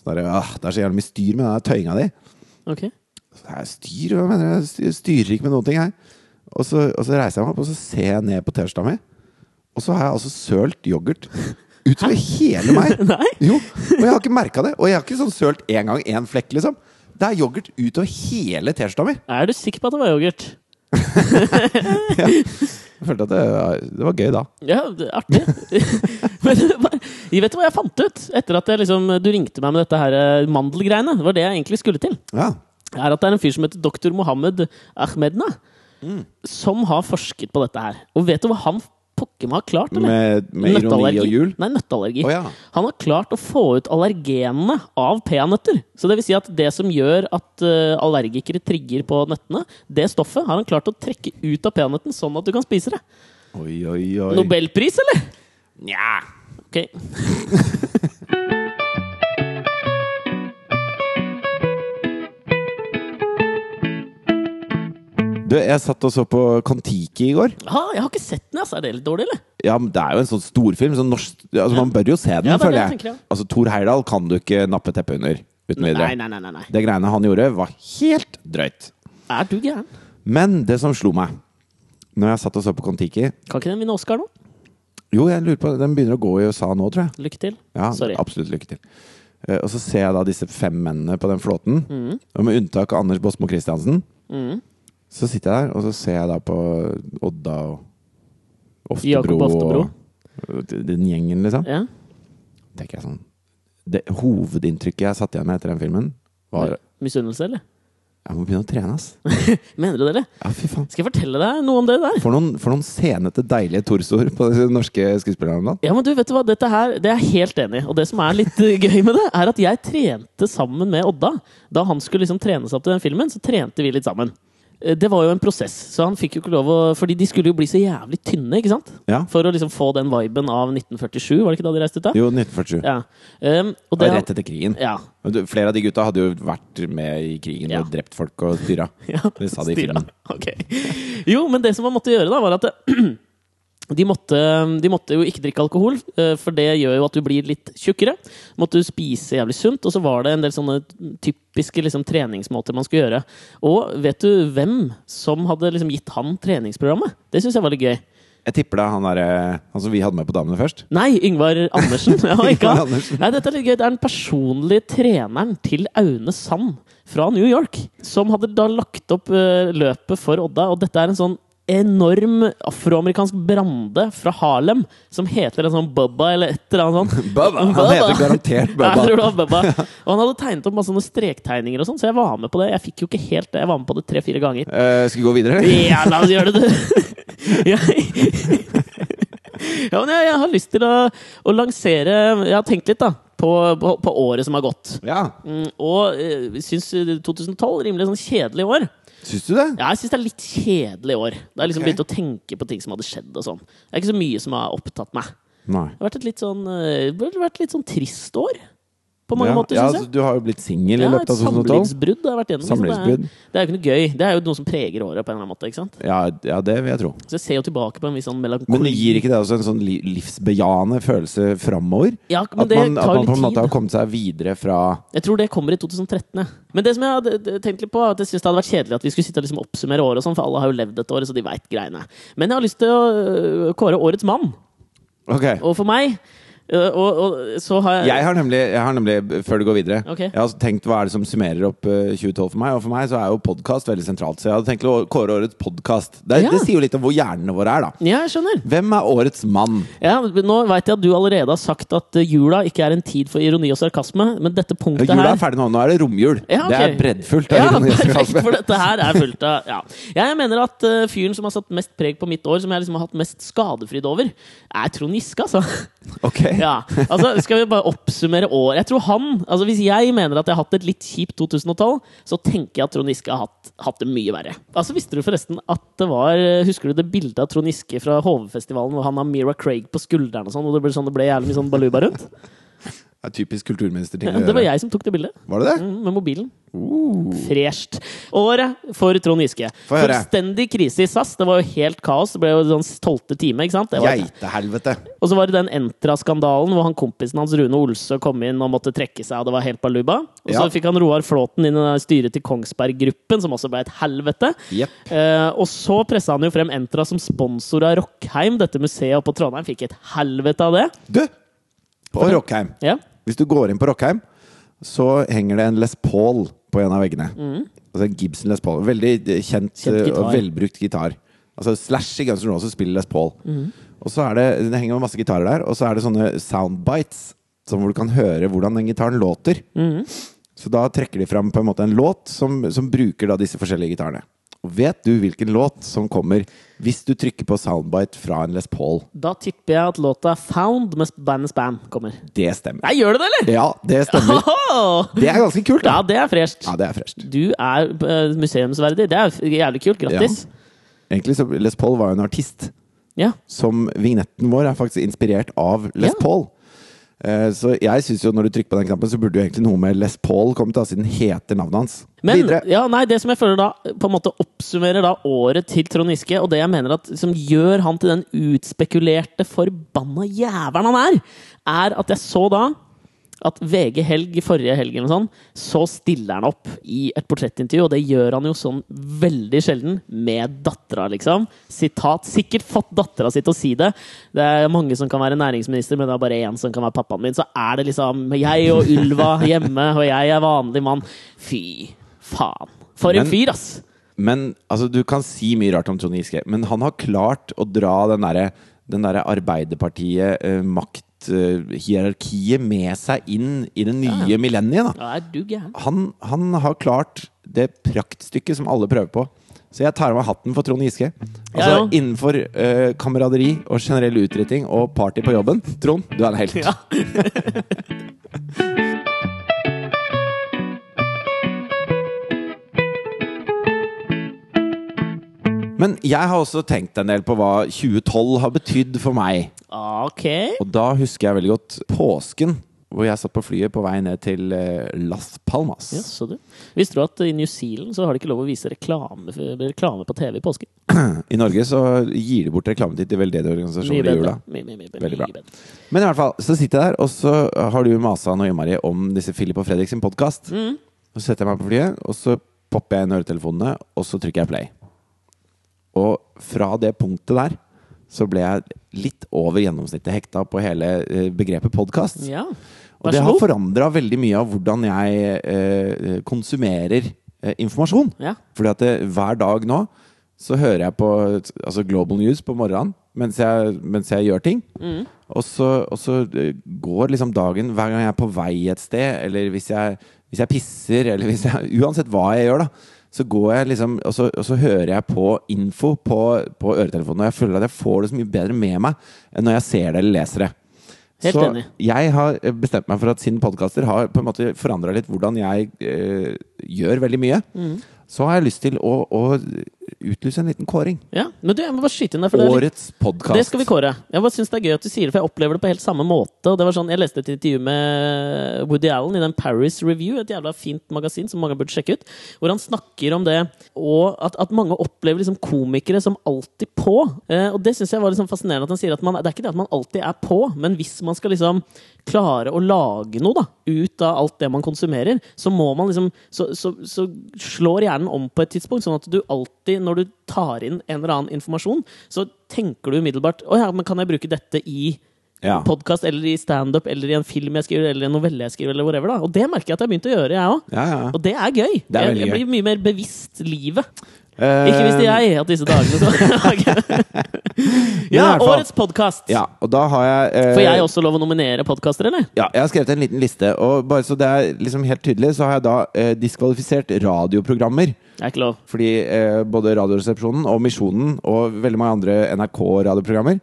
sånn der, ah, 'Det er så jævlig mye styr med den der tøyinga di'. Ok. Så jeg styr, hva mener jeg? Styr- Styrer ikke med noen ting her. Og så, og så reiser jeg meg opp, og så ser jeg ned på T-skjorta mi. Og så har jeg altså sølt yoghurt utover hele meg. Nei. Jo, Og jeg har ikke merka det. Og jeg har ikke sånn sølt én gang, én flekk, liksom. Det er yoghurt utover hele T-skjorta mi. Er du sikker på at det var yoghurt? Jeg følte at det, var- det var gøy da. Ja, det er artig. Men det var- jeg vet du hva jeg fant ut etter at jeg liksom, du ringte meg med dette her eh, mandelgreiene? Det var det jeg egentlig skulle til. Ja. Er at det er en fyr som heter doktor Mohammed Ahmedna, Mm. som har forsket på dette her. Og vet du hva han pokker meg har klart? eller? Med, med ironi og jul. Nei, nøtteallergi. Å, ja. Han har klart å få ut allergenene av peanøtter. Så det vil si at det som gjør at eh, allergikere trigger på nøttene, det stoffet har han klart å trekke ut av peanøtten sånn at du kan spise det. Oi, oi, oi. Nobelpris, eller? Nja. Ok. Du, jeg satt og så på Kon-Tiki i går. Ja, jeg har ikke sett den, altså. Er det litt dårlig, eller? Ja, men Det er jo en sånn storfilm. Sånn norsk, altså, man bør jo se den, Ja, det er det føler jeg jeg. tenker, ja. Altså, Thor Heyerdahl kan du ikke nappe teppet under uten videre. Nei, nei, nei, nei, nei. Det greiene han gjorde, var helt drøyt. Er du gæren? Men det som slo meg Når jeg satt og så på Kon-Tiki Kan ikke den vinne Oscar nå? Jo, jeg lurer på, den begynner å gå i USA nå, tror jeg. Lykke til. Ja, Sorry. Absolutt lykke til. Eh, Og så ser jeg da disse fem mennene på den flåten. Mm. Og med unntak av Anders Båsmo Christiansen, så sitter jeg der, og så ser jeg da på Odda og Oftebro, Jakob Oftebro. og og den gjengen, liksom. Ja. Tenker jeg sånn det Hovedinntrykket jeg satt igjen med etter den filmen, var Misunnelse, eller? Jeg må begynne å trene, ass. Mener du det, eller? Ja, fy faen. Skal jeg fortelle deg noe om det der? For noen, for noen senete, deilige torsoer på de norske skuespillerne. da. Ja, men du, vet du hva? Dette her, det er jeg helt enig i. Og det som er litt eh, gøy med det, er at jeg trente sammen med Odda. Da han skulle liksom trene seg opp til den filmen, så trente vi litt sammen. Eh, Det var jo en prosess, så han fikk jo ikke lov å Fordi de skulle jo bli så jævlig tynne, ikke sant? Ja. For å liksom få den viben av 1947, var det ikke da de reiste ut da? Jo, 1947. Ja. Um, og Det det, var rett etter krigen. ja. Og du- Flere av de gutta hadde jo vært med i krigen Ja. og drept folk og styra. Ja, Det sa de i styra. filmen. Ok. Jo, men det som man måtte gjøre, da, var at eh, de måtte, de måtte jo ikke drikke alkohol, eh, for det gjør jo at du blir litt tjukkere. Måtte du spise jævlig sunt, og så var det en del sånne typiske liksom, treningsmåter man skulle gjøre. Og vet du hvem som hadde liksom, gitt han treningsprogrammet? Det syns jeg var litt gøy. Jeg tipper det er han derre Han som vi hadde med på Damene først. Nei, Yngvar Andersen. Ja, ikke Yngvar han. Andersen. Nei, dette er litt gøy. Det er den personlige treneren til Aune Sand fra New York, som hadde da lagt opp eh, løpet for Odda. Og dette er en sånn enorm afroamerikansk brande fra Harlem som heter en sånn Bubba eller et eller annet sånt. Bubba. Han heter garantert Ja, jeg tror Bubba. det var Bubba. Og han hadde tegnet opp masse sånne strektegninger og sånn, så jeg var med på det. Jeg fikk jo ikke helt det. Jeg var med på det tre-fire ganger. Eh, skal vi gå videre, eller? Ja, la oss gjøre det, du! Jeg- ja, men jeg, jeg har lyst til å, å lansere Jeg har tenkt litt, da. På, på, på året som har gått. Ja. Mm, og eh, syns 2012 rimelig sånn kjedelig år. Syns du det? Ja, jeg syns det er litt kjedelig år. Da har jeg liksom Ok. begynt å tenke på ting som hadde skjedd. og sånn Det er ikke så mye som har opptatt meg. Nei. Det har vært et litt sånn, eh, det har vært litt sånn trist år. På ja. mange måter, ja, syns jeg. altså, du har jo blitt singel i Ja, et løpet av 2012. samlivsbrudd har jeg vært gjennom. liksom. Samlivsbrudd. Det, er, det er jo ikke noe gøy. Det er jo noe som preger året på en eller annen måte. ikke sant? Ja, ja, det vil jeg tro. Så jeg ser jo tilbake på en viss sånn melankoli. Men gir ikke det også en sånn li- livsbejaende følelse framover? Ja, men At det man, at tar man på en litt måte tid. har kommet seg videre fra Jeg tror det kommer i 2013. jeg. Men det som jeg hadde eh, tenkt litt på, er at jeg synes det hadde vært kjedelig at vi skulle sitte og liksom oppsummere året og sånn, for alle har jo levd dette året, så de veit greiene. Men jeg har lyst til å øh, kåre årets mann. Ok. Og for meg øh, og, og så har jeg, Jeg har nemlig, jeg har nemlig før du går videre Eh, Ok. Jeg har tenkt hva er det som summerer opp eh, 2012 for meg. Og for meg så er jo podkast veldig sentralt. Så jeg hadde tenkt å kåre årets podkast. Det, Ja. det sier jo litt om hvor hjernene våre er, da. Ja, jeg skjønner. Hvem er årets mann? Ja, men nå veit jeg at du allerede har sagt at eh, jula ikke er en tid for ironi og sarkasme, men dette punktet Jula her er ferdig nå. Nå er det romjul. Ja, ok. Det er breddfullt. av Ja, ironi og perfekt, sarkasme. for dette her er fullt av ja. Jeg mener at eh, fyren som har satt mest preg på mitt år, som jeg liksom har hatt mest skadefryd over, er Trond Giske, altså. Ok. Ja, altså Skal vi bare oppsummere år Jeg tror han, altså Hvis jeg mener at jeg har hatt et litt kjipt 2012, så tenker jeg at Trond Giske har hatt, hatt det mye verre. Altså Visste du forresten at det var Husker du det bildet av Trond Giske fra Hovefestivalen hvor han har Mira Craig på skulderen og sånn, og det ble sånn det ble jævlig mye sånn baluba rundt? Det er typisk kulturministerting å Det var gjøre. jeg som tok det bildet. Var det det? Mm, Med mobilen. Fresht. Året for Trond Giske. Få høre. Fullstendig krise i SAS. Det var jo helt kaos. Det ble jo sånn tolvte time. ikke sant? Det var Geitehelvete. Og så var det den Entra-skandalen hvor han kompisen hans Rune Olsø kom inn og måtte trekke seg, og det var helt baluba. Og så Ja. fikk han Roar Flåten inn i det styret til Kongsberg Gruppen, som også ble et helvete. Jepp. Eh, og så pressa han jo frem Entra som sponsor av Rockheim, dette museet oppe på Trondheim. Fikk et helvete av det. Du, på Rockheim. Ja. Hvis du går inn på Rockheim, så henger det en Les Paul på en av veggene. Altså en Gibson Les Paul. Veldig eh, kjent, Mm. Kjent eh, og gitar. velbrukt gitar. Altså Slash i Guns N' Roses spiller Les Paul. Mm. Og så er det, det henger masse gitarer der, og så er det sånne soundbites, som hvor du kan høre hvordan den gitaren låter. Mm. Så da trekker de fram på en måte en låt som, som bruker da disse forskjellige gitarene. Og vet du hvilken låt som kommer hvis du trykker på soundbite fra en Les Paul? Da tipper jeg at låta Found med bandets band kommer. Det stemmer. Nei, gjør det det, eller?! Ja, det stemmer. Åhå! Det er ganske kult, da. Ja, det er fresht. Ja, det er fresht. Du er eh, museumsverdig. Det er f- jævlig kult. Grattis. Egentlig så Les Paul var jo en artist Ja. som vignetten vår er faktisk inspirert av Les Ja. Paul. Eh, Så jeg syns jo når du trykker på den knappen, så burde jo egentlig noe med Les Paul kommet, da, siden den heter navnet hans. Men Videre. ja, nei, det som jeg føler da på en måte oppsummerer da året til Trond Giske, og det jeg mener at som gjør han til den utspekulerte, forbanna jævelen han er, er at jeg så da at VG Helg i forrige helg eller noe sånt, så stiller han opp i et portrettintervju, og det gjør han jo sånn veldig sjelden med dattera, liksom. Sitat. Sikkert fått dattera si til å si det. Det er mange som kan være næringsminister, men det er bare én som kan være pappaen min. Så er det liksom jeg og Ylva hjemme, og jeg er vanlig mann. Fy faen. For Men- en fyr, ass! Men altså, du kan si mye rart om Trond Giske, men han har klart å dra den derre den derre Arbeiderpartiet, eh, makt, eh, hierarkiet med seg inn i det nye millenniet, da. Ja, er du gæren? han, han har klart det praktstykket som alle prøver på. Så jeg tar av meg hatten for Trond Giske. Altså Ja, jo. Innenfor eh, kameraderi og generell utretting og party på jobben. Trond, du er en helt. Ja. Men jeg har også tenkt en del på hva 2012 har betydd for meg. Ok. Og da husker jeg veldig godt påsken, hvor jeg satt på flyet på vei ned til eh, Las Palmas. Jaså, du. Visste du at i New Zealand så har de ikke lov å vise reklame, reklame på TV i påsken? I Norge så gir de bort reklametid til veldedige organisasjoner i jula. Mye, mye, mye, bedre. Veldig bra. Mye bedre. Men i hvert fall, så sitter jeg der, og så har du masa noe innmari om disse Philip og Fredrik sin podkast. Mm. Så setter jeg meg på flyet, og så popper jeg inn øretelefonene, og så trykker jeg play. Og fra det punktet der så ble jeg litt over gjennomsnittet hekta på hele eh, begrepet podkast. Ja. Og Vær det så har god. forandra veldig mye av hvordan jeg eh, konsumerer eh, informasjon. Ja. Fordi at det, hver dag nå så hører jeg på altså Global News på morgenen mens jeg, mens jeg gjør ting. Mm. Og så, og så eh, går liksom dagen hver gang jeg er på vei et sted, eller hvis jeg, hvis jeg pisser, eller hvis jeg Uansett hva jeg gjør, da. Så går jeg liksom, og så, og så hører jeg på info på, på øretelefonen, og jeg føler at jeg får det så mye bedre med meg enn når jeg ser det eller leser det. Helt så enig. jeg har eh, bestemt meg for at siden podkaster har på en måte forandra litt hvordan jeg eh, gjør veldig mye, Mm. så har jeg lyst til å, å utlyse en liten kåring. ja. Men du, jeg må bare skyte inn der. For det er litt- Årets podkast. Det skal vi kåre. Jeg bare synes det er gøy at du sier det, for jeg opplever det på helt samme måte. Og det var sånn, Jeg leste et intervju med Woody Allen i den Paris Review, et jævla fint magasin som mange burde sjekke ut, hvor han snakker om det, og at, at mange opplever liksom komikere som alltid på. Eh, og det syns jeg var liksom fascinerende at han sier at man, det er ikke det at man alltid er på, men hvis man skal liksom klare å lage noe da, ut av alt det man konsumerer, så må man liksom så, så, så slår hjernen om på et tidspunkt, sånn at du alltid, når du tar inn en eller annen informasjon, så tenker du umiddelbart Å ja, men kan jeg bruke dette i Ja. podkast eller i standup eller i en film jeg skriver, eller i en novelle jeg skriver, eller whatever, da. Og det merker jeg at jeg har begynt å gjøre, jeg òg. Ja, ja. Og det er Det gøy. er jeg, veldig jeg gøy. blir mye mer bevisst livet. Eh, Ikke visste jeg at disse dagene så Ja, i hvert fall- årets podkast! Ja, og da har jeg eh, Får jeg også lov å nominere podkaster, eller? Ja, jeg har skrevet en liten liste, og bare så det er liksom helt tydelig, så har jeg da eh, diskvalifisert radioprogrammer. Det er ikke lov. Fordi eh, både Radioresepsjonen og Misjonen og veldig mange andre NRK-radioprogrammer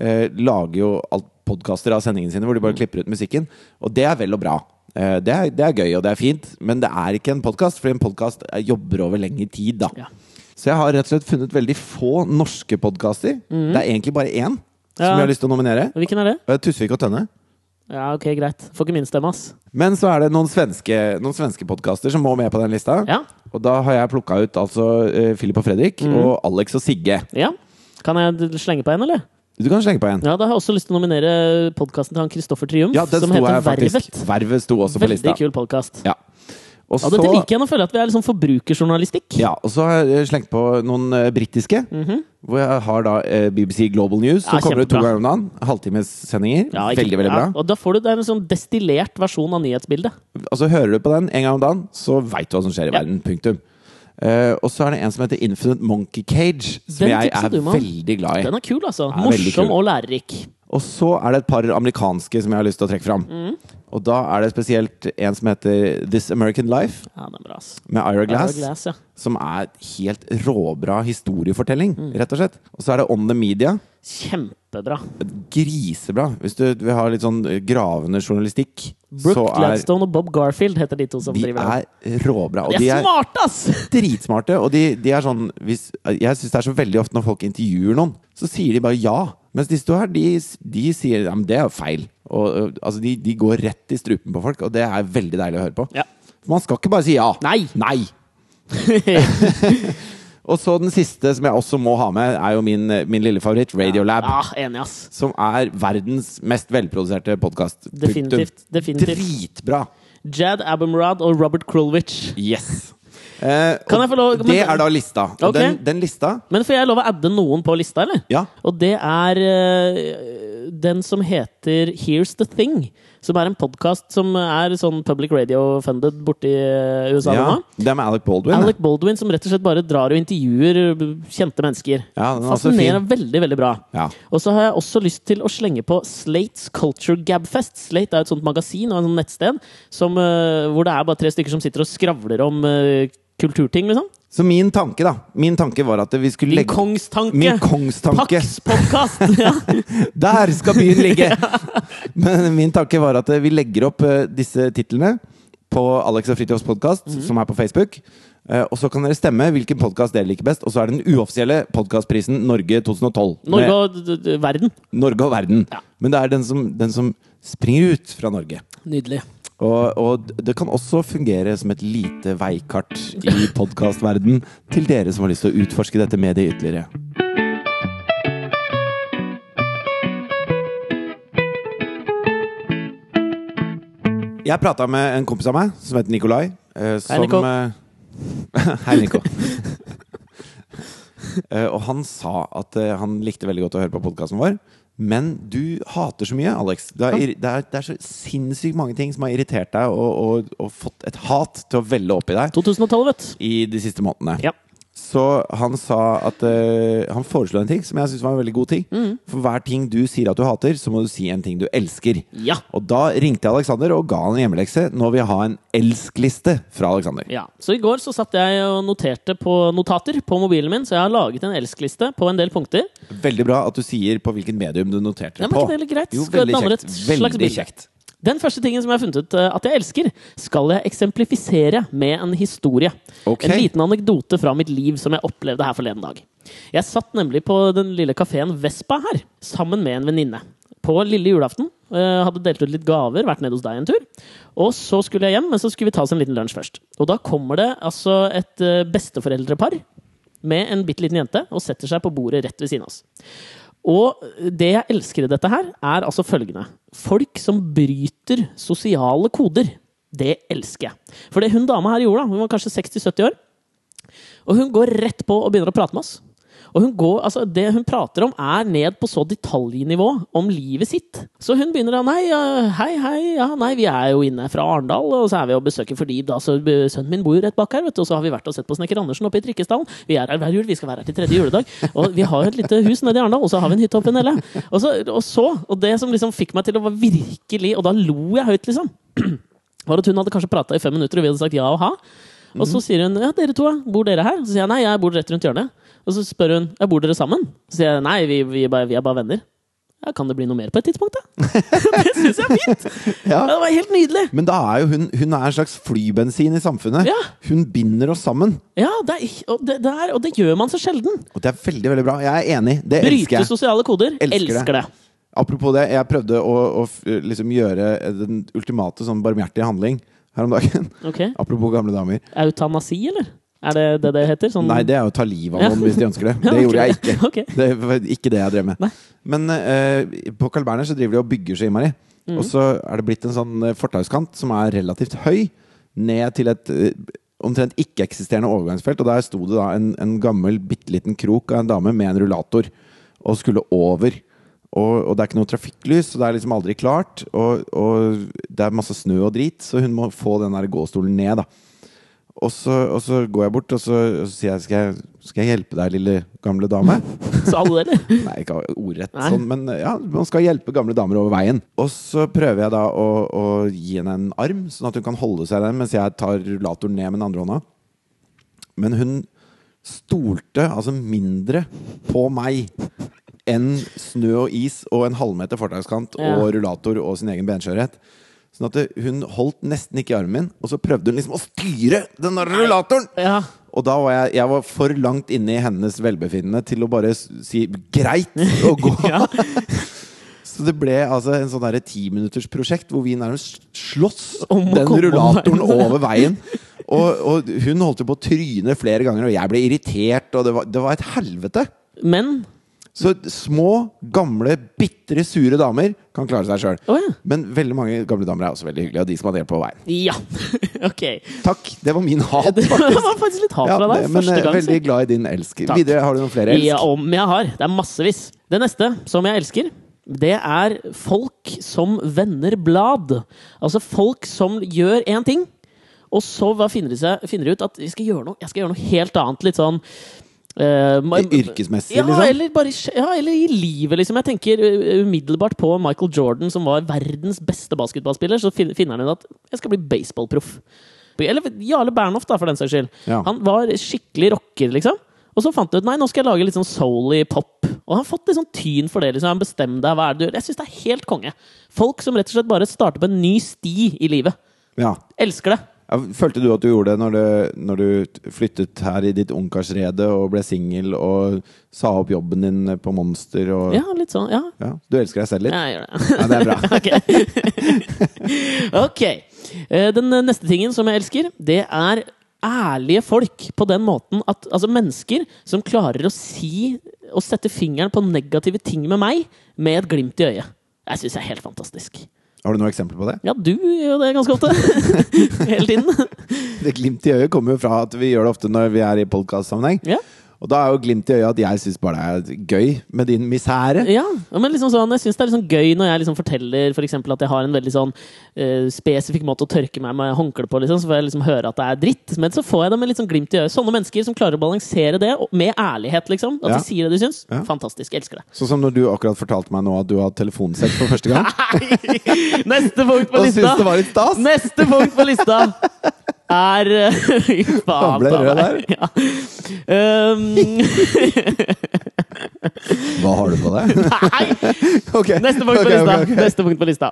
eh, lager jo alt podkaster av sendingene sine hvor Mm. de bare klipper ut musikken. Og det er vel og bra. Eh, det, er, det er gøy, og det er fint, men det er ikke en podkast, fordi en podkast jobber over lengre tid, da. Ja. Så jeg har rett og slett funnet veldig få norske podkaster. Det er egentlig bare én som Mm. Ja. jeg har lyst til å nominere. Og Hvilken er det? Eh, Tusvik og Tønne. Ja, ok, greit. Får ikke min stemme, ass. Men så er det noen svenske, noen svenske podkaster som må med på den lista. Ja. Mm. Og da har jeg plukka ut altså eh, Philip og Fredrik og Alex og Sigge. ja. Kan jeg d- slenge på en, eller? Du kan slenge på en. Ja, Da har jeg også lyst til å nominere podkasten til han Kristoffer Triumf, Ja, den som sto heter jeg faktisk. Vervet. Vervet sto også på lista. Veldig kul podkast. Ja. Og Ja, dette så, liker jeg. Nå føler jeg at vi er liksom forbrukerjournalistikk. ja, og så har jeg slengt på noen eh, britiske. Hvor jeg har da eh, BBC Global News, som Mhm. Ja, kommer ut to kjempebra. ganger om dagen. Halvtimessendinger. Ja, ikke- veldig, veldig bra. Ja, og da får du det er en sånn destillert versjon av nyhetsbildet. Og så Altså, hører du på den en gang om dagen, så veit du hva som skjer i Ja. verden. Punktum. Eh, og så er det en som heter Infinite Monkey Cage, som Den jeg tipset er du meg om. veldig glad i. Den er kul, altså. Ja, veldig Morsom kul. og lærerik. Og så er det et par amerikanske som jeg har lyst til å trekke fram. Mm. Og da er det spesielt en som heter This American Life, Ja, den er bra, ass. med Ira Glass. Ja, Glass ja. Som er helt råbra historiefortelling, Mm. rett og slett. Og så er det On the Media. Kjempebra. Grisebra. Hvis du vil ha litt sånn eh, gravende journalistikk, Brooke så er Gladstone og Bob Garfield heter de to som de driver den. er råbra. Og De er smarte, ass! dritsmarte. Og de, de er sånn hvis, Jeg syns det er så veldig ofte når folk intervjuer noen, så sier de bare ja. Mens de står her, de, de sier ja, men det er jo feil. Og, og, altså, de, de går rett i strupen på folk, og det er veldig deilig å høre på. Ja. For man skal ikke bare si ja. Nei. Nei. Og så den siste som jeg også må ha med, er jo min, min lille favoritt, Radiolab. Ja, Ah, enig, ass. Som er verdens mest velproduserte podkast. Definitivt, definitivt. Dritbra! Jad Abumrad og Robert Krulwich. Yes. Eh, Kan og jeg få lov- men- Det er da lista. Og Ok. den, den lista Men får jeg lov å adde noen på lista, eller? Ja. Og det er eh, den som heter Here's the Thing. Som er en podkast som er sånn public radio-funded borti eh, USA ja, nå. det er med Alec Baldwin. Alec Baldwin som rett og slett bare drar og intervjuer kjente mennesker. Ja, den er også Fascinerer veldig, veldig bra. Ja. Og så har jeg også lyst til å slenge på Slates Culture Gabfest. Slate er et sånt magasin og et sånt nettsted som, eh, hvor det er bare tre stykker som sitter og skravler om eh, kulturting, liksom. Så min tanke da Min tanke var at vi skulle Min legge kongstanke! Min kongstanke. Pax podcast! ja. Der skal byen ligge! Men min tanke var at vi legger opp eh, disse titlene på Alex og Fridtjofs podkast, Mhm. som er på Facebook. Eh, Og så kan dere stemme hvilken podkast dere liker best. Og så er det den uoffisielle podkastprisen Norge 2012. Norge med og d- d- verden. Norge og verden. Ja. Men det er den som, den som springer ut fra Norge. Nydelig. Og, og det kan også fungere som et lite veikart i podkastverden til dere som har lyst til å utforske dette mediet ytterligere. Jeg prata med en kompis av meg som heter Nikolai. eh, som, Nico. eh, Hei, Nico. Eh, og han sa at eh, han likte veldig godt å høre på podkasten vår. Men du hater så mye, Alex. Det er, irri- det er, det er så sinnssykt mange ting som har irritert deg og, og, og fått et hat til å velle opp i deg 2012, vet du. i de siste månedene. Ja. Så han sa at eh, Han foreslo en ting som jeg syns var en veldig god ting. Mm. For hver ting du sier at du hater, så må du si en ting du elsker. Ja. Og da ringte jeg Alexander og ga han en hjemmelekse. Nå vil jeg ha en elsk-liste fra Alexander. Ja. Så i går så satt jeg og noterte på notater på mobilen min, så jeg har laget en elskliste på en del punkter. Veldig bra at du sier på hvilken medium du noterte Ja, det men på. ikke det er litt greit? Jo, Skal veldig danne kjekt. et slags Veldig bilde. kjekt. Den første tingen som jeg har funnet ut eh, at jeg elsker, skal jeg eksemplifisere med en historie. Ok. En liten anekdote fra mitt liv som jeg opplevde her forleden dag. Jeg satt nemlig på den lille kafeen Vespa her, sammen med en venninne. På lille julaften. eh, Hadde delt ut litt gaver, vært nede hos deg en tur. Og så skulle jeg hjem, men så skulle vi ta oss en liten lunsj først. Og da kommer det altså et eh, besteforeldrepar med en bitte liten jente og setter seg på bordet rett ved siden av oss. Og det jeg elsker i dette her, er altså følgende. Folk som bryter sosiale koder, det elsker jeg. For det hun dama her gjorde, da, hun var kanskje 60-70 år, og hun går rett på og begynner å prate med oss. Og hun går, altså Det hun prater om, er ned på så detaljnivå om livet sitt. Så hun begynner da Nei, ja, hei, hei, ja, nei, vi er jo inne fra Arendal, og så er vi og besøker fordi da, så b- sønnen min bor jo rett bak her, vet du, og så har vi vært og sett på Snekker Andersen oppe i Trikkestallen. Vi er her hver jul, vi skal være her til tredje juledag. Og vi har jo et lite hus nede i Arendal, og så har vi en hytte oppe i Nelle. Og så, og så, og det som liksom fikk meg til å være virkelig Og da lo jeg høyt, liksom var at hun hadde kanskje prata i fem minutter, og vi hadde sagt ja og ha. Og Mhm. så sier hun ja, dere to, ja. bor dere her? Så sier jeg nei, jeg bor rett rundt hjørnet. Og så spør hun ja, bor dere sammen? Så sier jeg nei, vi, vi, er bare- vi er bare venner. Ja, Kan det bli noe mer på et tidspunkt, da? det syns jeg er fint! Ja, det var helt nydelig! Men da er jo hun, hun er en slags flybensin i samfunnet. Ja. Hun binder oss sammen. Ja, det er, og, det, det er, og det gjør man så sjelden. Og det er veldig, veldig bra. Jeg er enig. Det elsker Bryte jeg. sosiale koder. Elsker Elsker, det. det. Apropos det, jeg prøvde å, å f- liksom gjøre den ultimate sånn barmhjertige handling her om dagen. Ok. Apropos gamle damer. Eutanasi, eller? Er det det det heter? Sånn, Nei, det er jo å ta livet av Ja. noen hvis de ønsker det. Ja, Det ok. gjorde jeg ikke. Ok. Det var ikke det jeg drev med. Nei. Men eh, på Carl Berner så driver de og bygger så innmari. Mm. Og så er det blitt en sånn eh, fortauskant som er relativt høy, ned til et eh, omtrent ikke-eksisterende overgangsfelt. Og der sto det da en, en gammel, bitte liten krok av en dame med en rullator og skulle over. Og, og det er ikke noe trafikklys, og det er liksom aldri klart. Og, og det er masse snø og drit, så hun må få den der gåstolen ned, da. Og så, og så går jeg bort og så, og så sier jeg skal, jeg 'Skal jeg hjelpe deg, lille gamle dame?' Sa du det, eller? Nei, ikke ordrett, Nei. sånn, men ja, man skal hjelpe gamle damer over veien. Og så prøver jeg da å, å gi henne en arm, sånn at hun kan holde seg i den mens jeg tar rullatoren ned med den andre hånda. Men hun stolte altså mindre på meg enn snø og is og en halvmeter fortauskant Ja. og rullator og sin egen benskjørhet. Sånn at det- hun holdt nesten ikke i armen min, og så prøvde hun liksom å styre den der rullatoren! Ja. Og da var jeg, jeg var for langt inne i hennes velbefinnende til å bare s- si greit å gå. ja. Så det ble altså en sånn derre timinuttersprosjekt hvor vi nærmest slåss Om å den komme rullatoren over over veien. veien. Og, og hun holdt jo på å tryne flere ganger, og jeg ble irritert, og det var, det var et helvete. Men Så små, gamle, bitre, sure damer kan klare seg sjøl. Å ja. Men veldig mange gamle damer er også veldig hyggelige, og de som hadde hjelp på veien. Ja. ok. Takk, det var min hat. Det faktisk. var faktisk litt hat Ja, fra deg. det, men første jeg er gang. veldig glad i din elsk. Takk. Videre, har du noen flere elsk? Ja, om jeg har. Det er massevis. Det neste som jeg elsker, det er folk som vender blad. Altså folk som gjør én ting, og så hva finner de seg, finner de ut at jeg skal, gjøre noe, jeg skal gjøre noe helt annet. Litt sånn eh, ma- Yrkesmessig, ja, liksom? Eller bare, i skje- ja, eller i livet, liksom. Jeg tenker uh, umiddelbart på Michael Jordan, som var verdens beste basketballspiller. Så fin- finner han ut at 'jeg skal bli baseballproff'. Eller Jarle Bernhoft, da, for den saks skyld. Ja. Han var skikkelig rocker, liksom. Og så fant han ut nei, nå skal jeg lage litt sånn soul i pop. Og han har fått litt sånn tyn for det. liksom Han bestemte deg, hva er det du gjør? Jeg syns det er helt konge. Folk som rett og slett bare starter på en ny sti i livet. Ja. Elsker det. Ja, Følte du at du gjorde det når du, når du flyttet her i ditt ungkarsrede og ble singel og sa opp jobben din på Monster og Ja, litt sånn. Ja, Ja, Du elsker deg selv litt? ja jeg gjør det. Ja, det er bra. ok. Ok. Eh, Den eh, neste tingen som jeg elsker, det er ærlige folk på den måten at Altså mennesker som klarer å si og sette fingeren på negative ting med meg med et glimt i øyet. Jeg syns jeg er helt fantastisk. Har du noe eksempel på det? Ja, du gjør jo det ganske ofte. Hele tiden. Det glimt i øyet kommer jo fra at vi gjør det ofte når vi er i podkastsammenheng. Ja. Og da er jo glimt i øyet at jeg syns bare det er gøy med din misere. Ja, ja, men liksom sånn, jeg syns det er liksom gøy når jeg liksom forteller for eksempel at jeg har en veldig sånn eh, spesifikk måte å tørke meg med håndkle på, liksom, så får jeg liksom høre at det er dritt. Men så får jeg det med litt sånn glimt i øyet. Sånne mennesker som klarer å balansere det og- med ærlighet, liksom. At Ja. de sier det de syns. Ja. Fantastisk. Elsker det. Sånn som når du akkurat fortalte meg nå at du har hatt telefonsex for første gang. Neste punkt på Og syntes det lista! var litt stas! Neste punkt på lista er eh, Faen Han ble ta rød meg. Ja. Um, Hva har du på deg? nei! Ok, Neste punkt på ok, lista. ok, ok. Neste punkt på lista.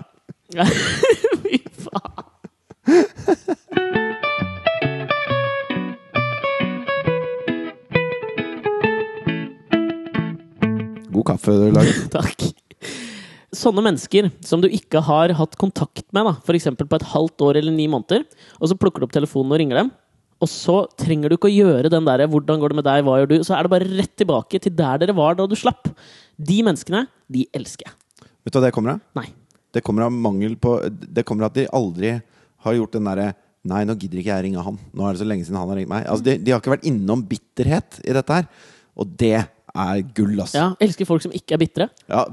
Fy faen. God kaffe du lager. Takk. Sånne mennesker som du ikke har hatt kontakt med, da, f.eks. på et halvt år eller ni måneder, og så plukker du opp telefonen og ringer dem, og så trenger du ikke å gjøre den der 'hvordan går det med deg', 'hva gjør du', så er det bare rett tilbake til der dere var da du slapp. De menneskene, de elsker jeg. Vet du hva det kommer av? Nei. Det kommer av mangel på Det kommer av at de aldri har gjort den derre Nei, nå gidder ikke jeg ringe han. Nå er det så lenge siden han har ringt meg. Altså, de, de har ikke vært innom bitterhet i dette her. Og det er gull, ass. Ja. Ja, elsker folk som ikke er bitre.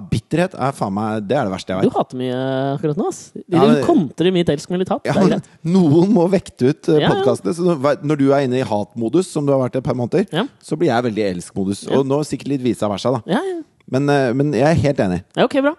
bitterhet er faen meg Det er det verste jeg Du vet. hater mye akkurat nå, ass. De Ja, men- kontrer mitt elsk med litt hat. Det er Ja, greit. noen må vekte ut Ja, eh, ja. podkastene. Så når- når du er inne i hatmodus, som du har vært i et par måneder, Ja. så blir jeg veldig i elsk-modus. Og nå sikkert litt vice versa, da. Ja, ja. Men, eh, men jeg er helt enig. Ja, ok, bra.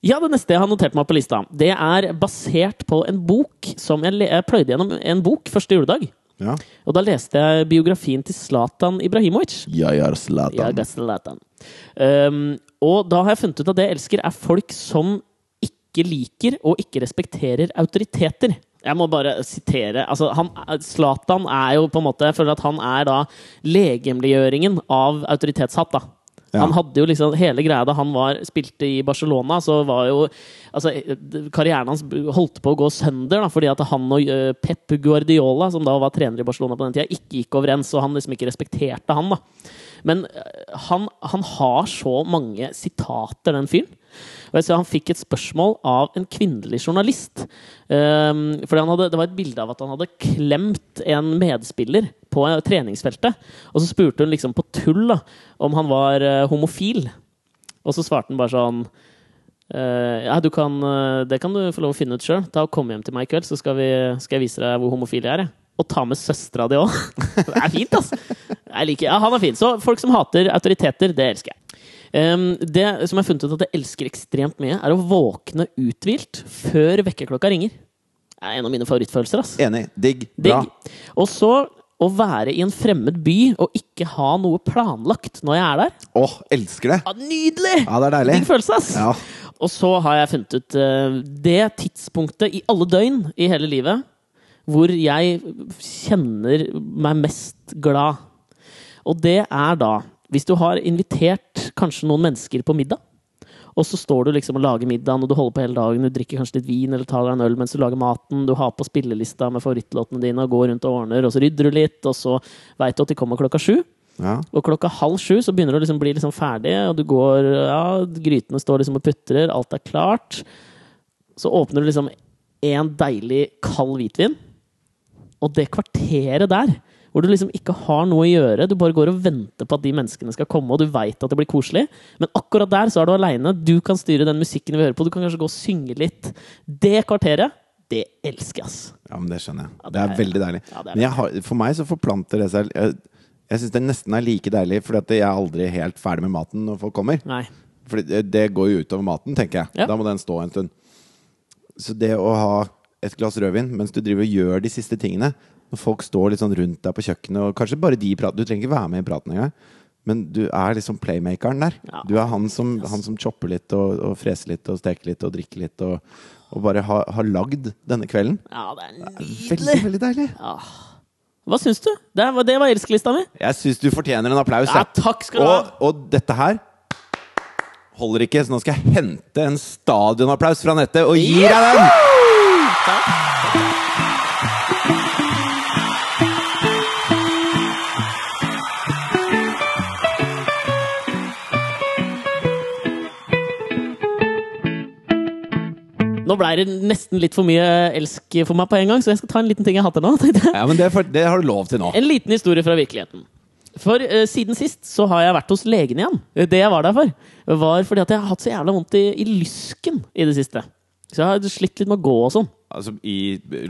Ja, Det neste jeg har notert meg på lista, det er basert på en bok som jeg, le jeg pløyde gjennom en bok første juledag. Ja. Og da leste jeg biografien til Zlatan Ibrahimovic. Jeg er Ja, Zlatan. det er Zlatan. Um, og da har jeg funnet ut at det jeg elsker, er folk som ikke liker og ikke respekterer autoriteter. Jeg må bare sitere altså, han, Zlatan er jo på en måte Jeg føler at han er da legemliggjøringen av autoritetshatt. da Ja. Han hadde jo liksom hele greia da han var, spilte i Barcelona, så var jo altså, eh, Karrieren hans holdt på å gå sønder da, fordi at han og eh, Pep Guardiola, som da var trener i Barcelona på den tida, ikke gikk overens, og han liksom ikke respekterte han. da Men eh, han, han har så mange sitater, den fyren. Og jeg ser Han fikk et spørsmål av en kvinnelig journalist. Um, fordi han hadde, Det var et bilde av at han hadde klemt en medspiller på eh, treningsfeltet. Og så spurte hun liksom på tull da, om han var eh, homofil. Og så svarte han bare sånn eh, ja, du kan, eh, Det kan du få lov å finne ut sjøl. Kom hjem til meg i kveld, så skal, vi, skal jeg vise deg hvor homofil jeg er. Jeg. Og ta med søstera di òg! Det er fint, ass! Jeg liker, ja, han er fin. Så folk som hater autoriteter, det elsker jeg. Ehm, det som jeg har funnet ut at jeg elsker ekstremt mye, er å våkne uthvilt før vekkerklokka ringer. Det er en av mine favorittfølelser. ass. Enig. Digg. Bra. Digg. Og så å være i en fremmed by og ikke ha noe planlagt når jeg er der. Åh, elsker det! Ja, nydelig! Ja, det er deilig. Digg følelse, ass! Ja. Og så har jeg funnet ut eh, det tidspunktet i alle døgn i hele livet hvor jeg kjenner meg mest glad. Og det er da hvis du har invitert kanskje noen mennesker på middag. Og så står du liksom og lager middagen, og du holder på hele dagen. Du drikker kanskje litt vin eller tar deg en øl mens du lager maten. Du har på spillelista med favorittlåtene dine og går rundt og ordner, og så rydder du litt, og så veit du at de kommer klokka sju. Ja. Og klokka halv sju så begynner du å liksom bli liksom ferdig, og du går ja, Grytene står liksom og putrer, alt er klart. Så åpner du liksom en deilig kald hvitvin, og det kvarteret der hvor du liksom ikke har noe å gjøre, du bare går og venter på at de menneskene skal komme, og du veit at det blir koselig, men akkurat der så er du aleine, du kan styre den musikken vi hører på, du kan kanskje gå og synge litt. Det kvarteret, det elsker jeg, ass. ja, men det skjønner jeg. Det det er er- veldig deilig. Ja, det er Men jeg har, for meg så forplanter det seg Jeg, jeg syns det nesten er like deilig, Fordi at jeg er aldri helt ferdig med maten når folk kommer. Nei. Fordi det- det går jo utover maten, tenker jeg. Ja. Da må den stå en stund. Så det å ha et glass rødvin mens du driver og gjør de siste tingene Når folk står litt sånn rundt deg på kjøkkenet, og kanskje bare de prater Du trenger ikke være med i praten engang, men du er liksom playmakeren der. Ja. Du er han som, han som chopper litt, og, og freser litt, og steker litt, og drikker litt, og, og bare har, har lagd denne kvelden. Ja, det er nydelig. Veldig, veldig deilig. Hva syns du? Det var, det var elskelista mi. Jeg syns du fortjener en applaus. Ja, jeg. takk skal du ha. og, og dette her holder ikke, så nå skal jeg hente en stadionapplaus fra nettet og gi deg den! Nå ble det nesten litt for mye elsk for meg på en gang, så jeg skal ta en liten ting jeg hater nå. tenkte jeg. Ja, men det, er for, det har du lov til nå. En liten historie fra virkeligheten. For eh, siden sist så har jeg vært hos legen igjen. Eh, Det jeg var der for, var fordi at jeg har hatt så jævla vondt i, i lysken i det siste. Så jeg har slitt litt med å gå og sånn. Altså i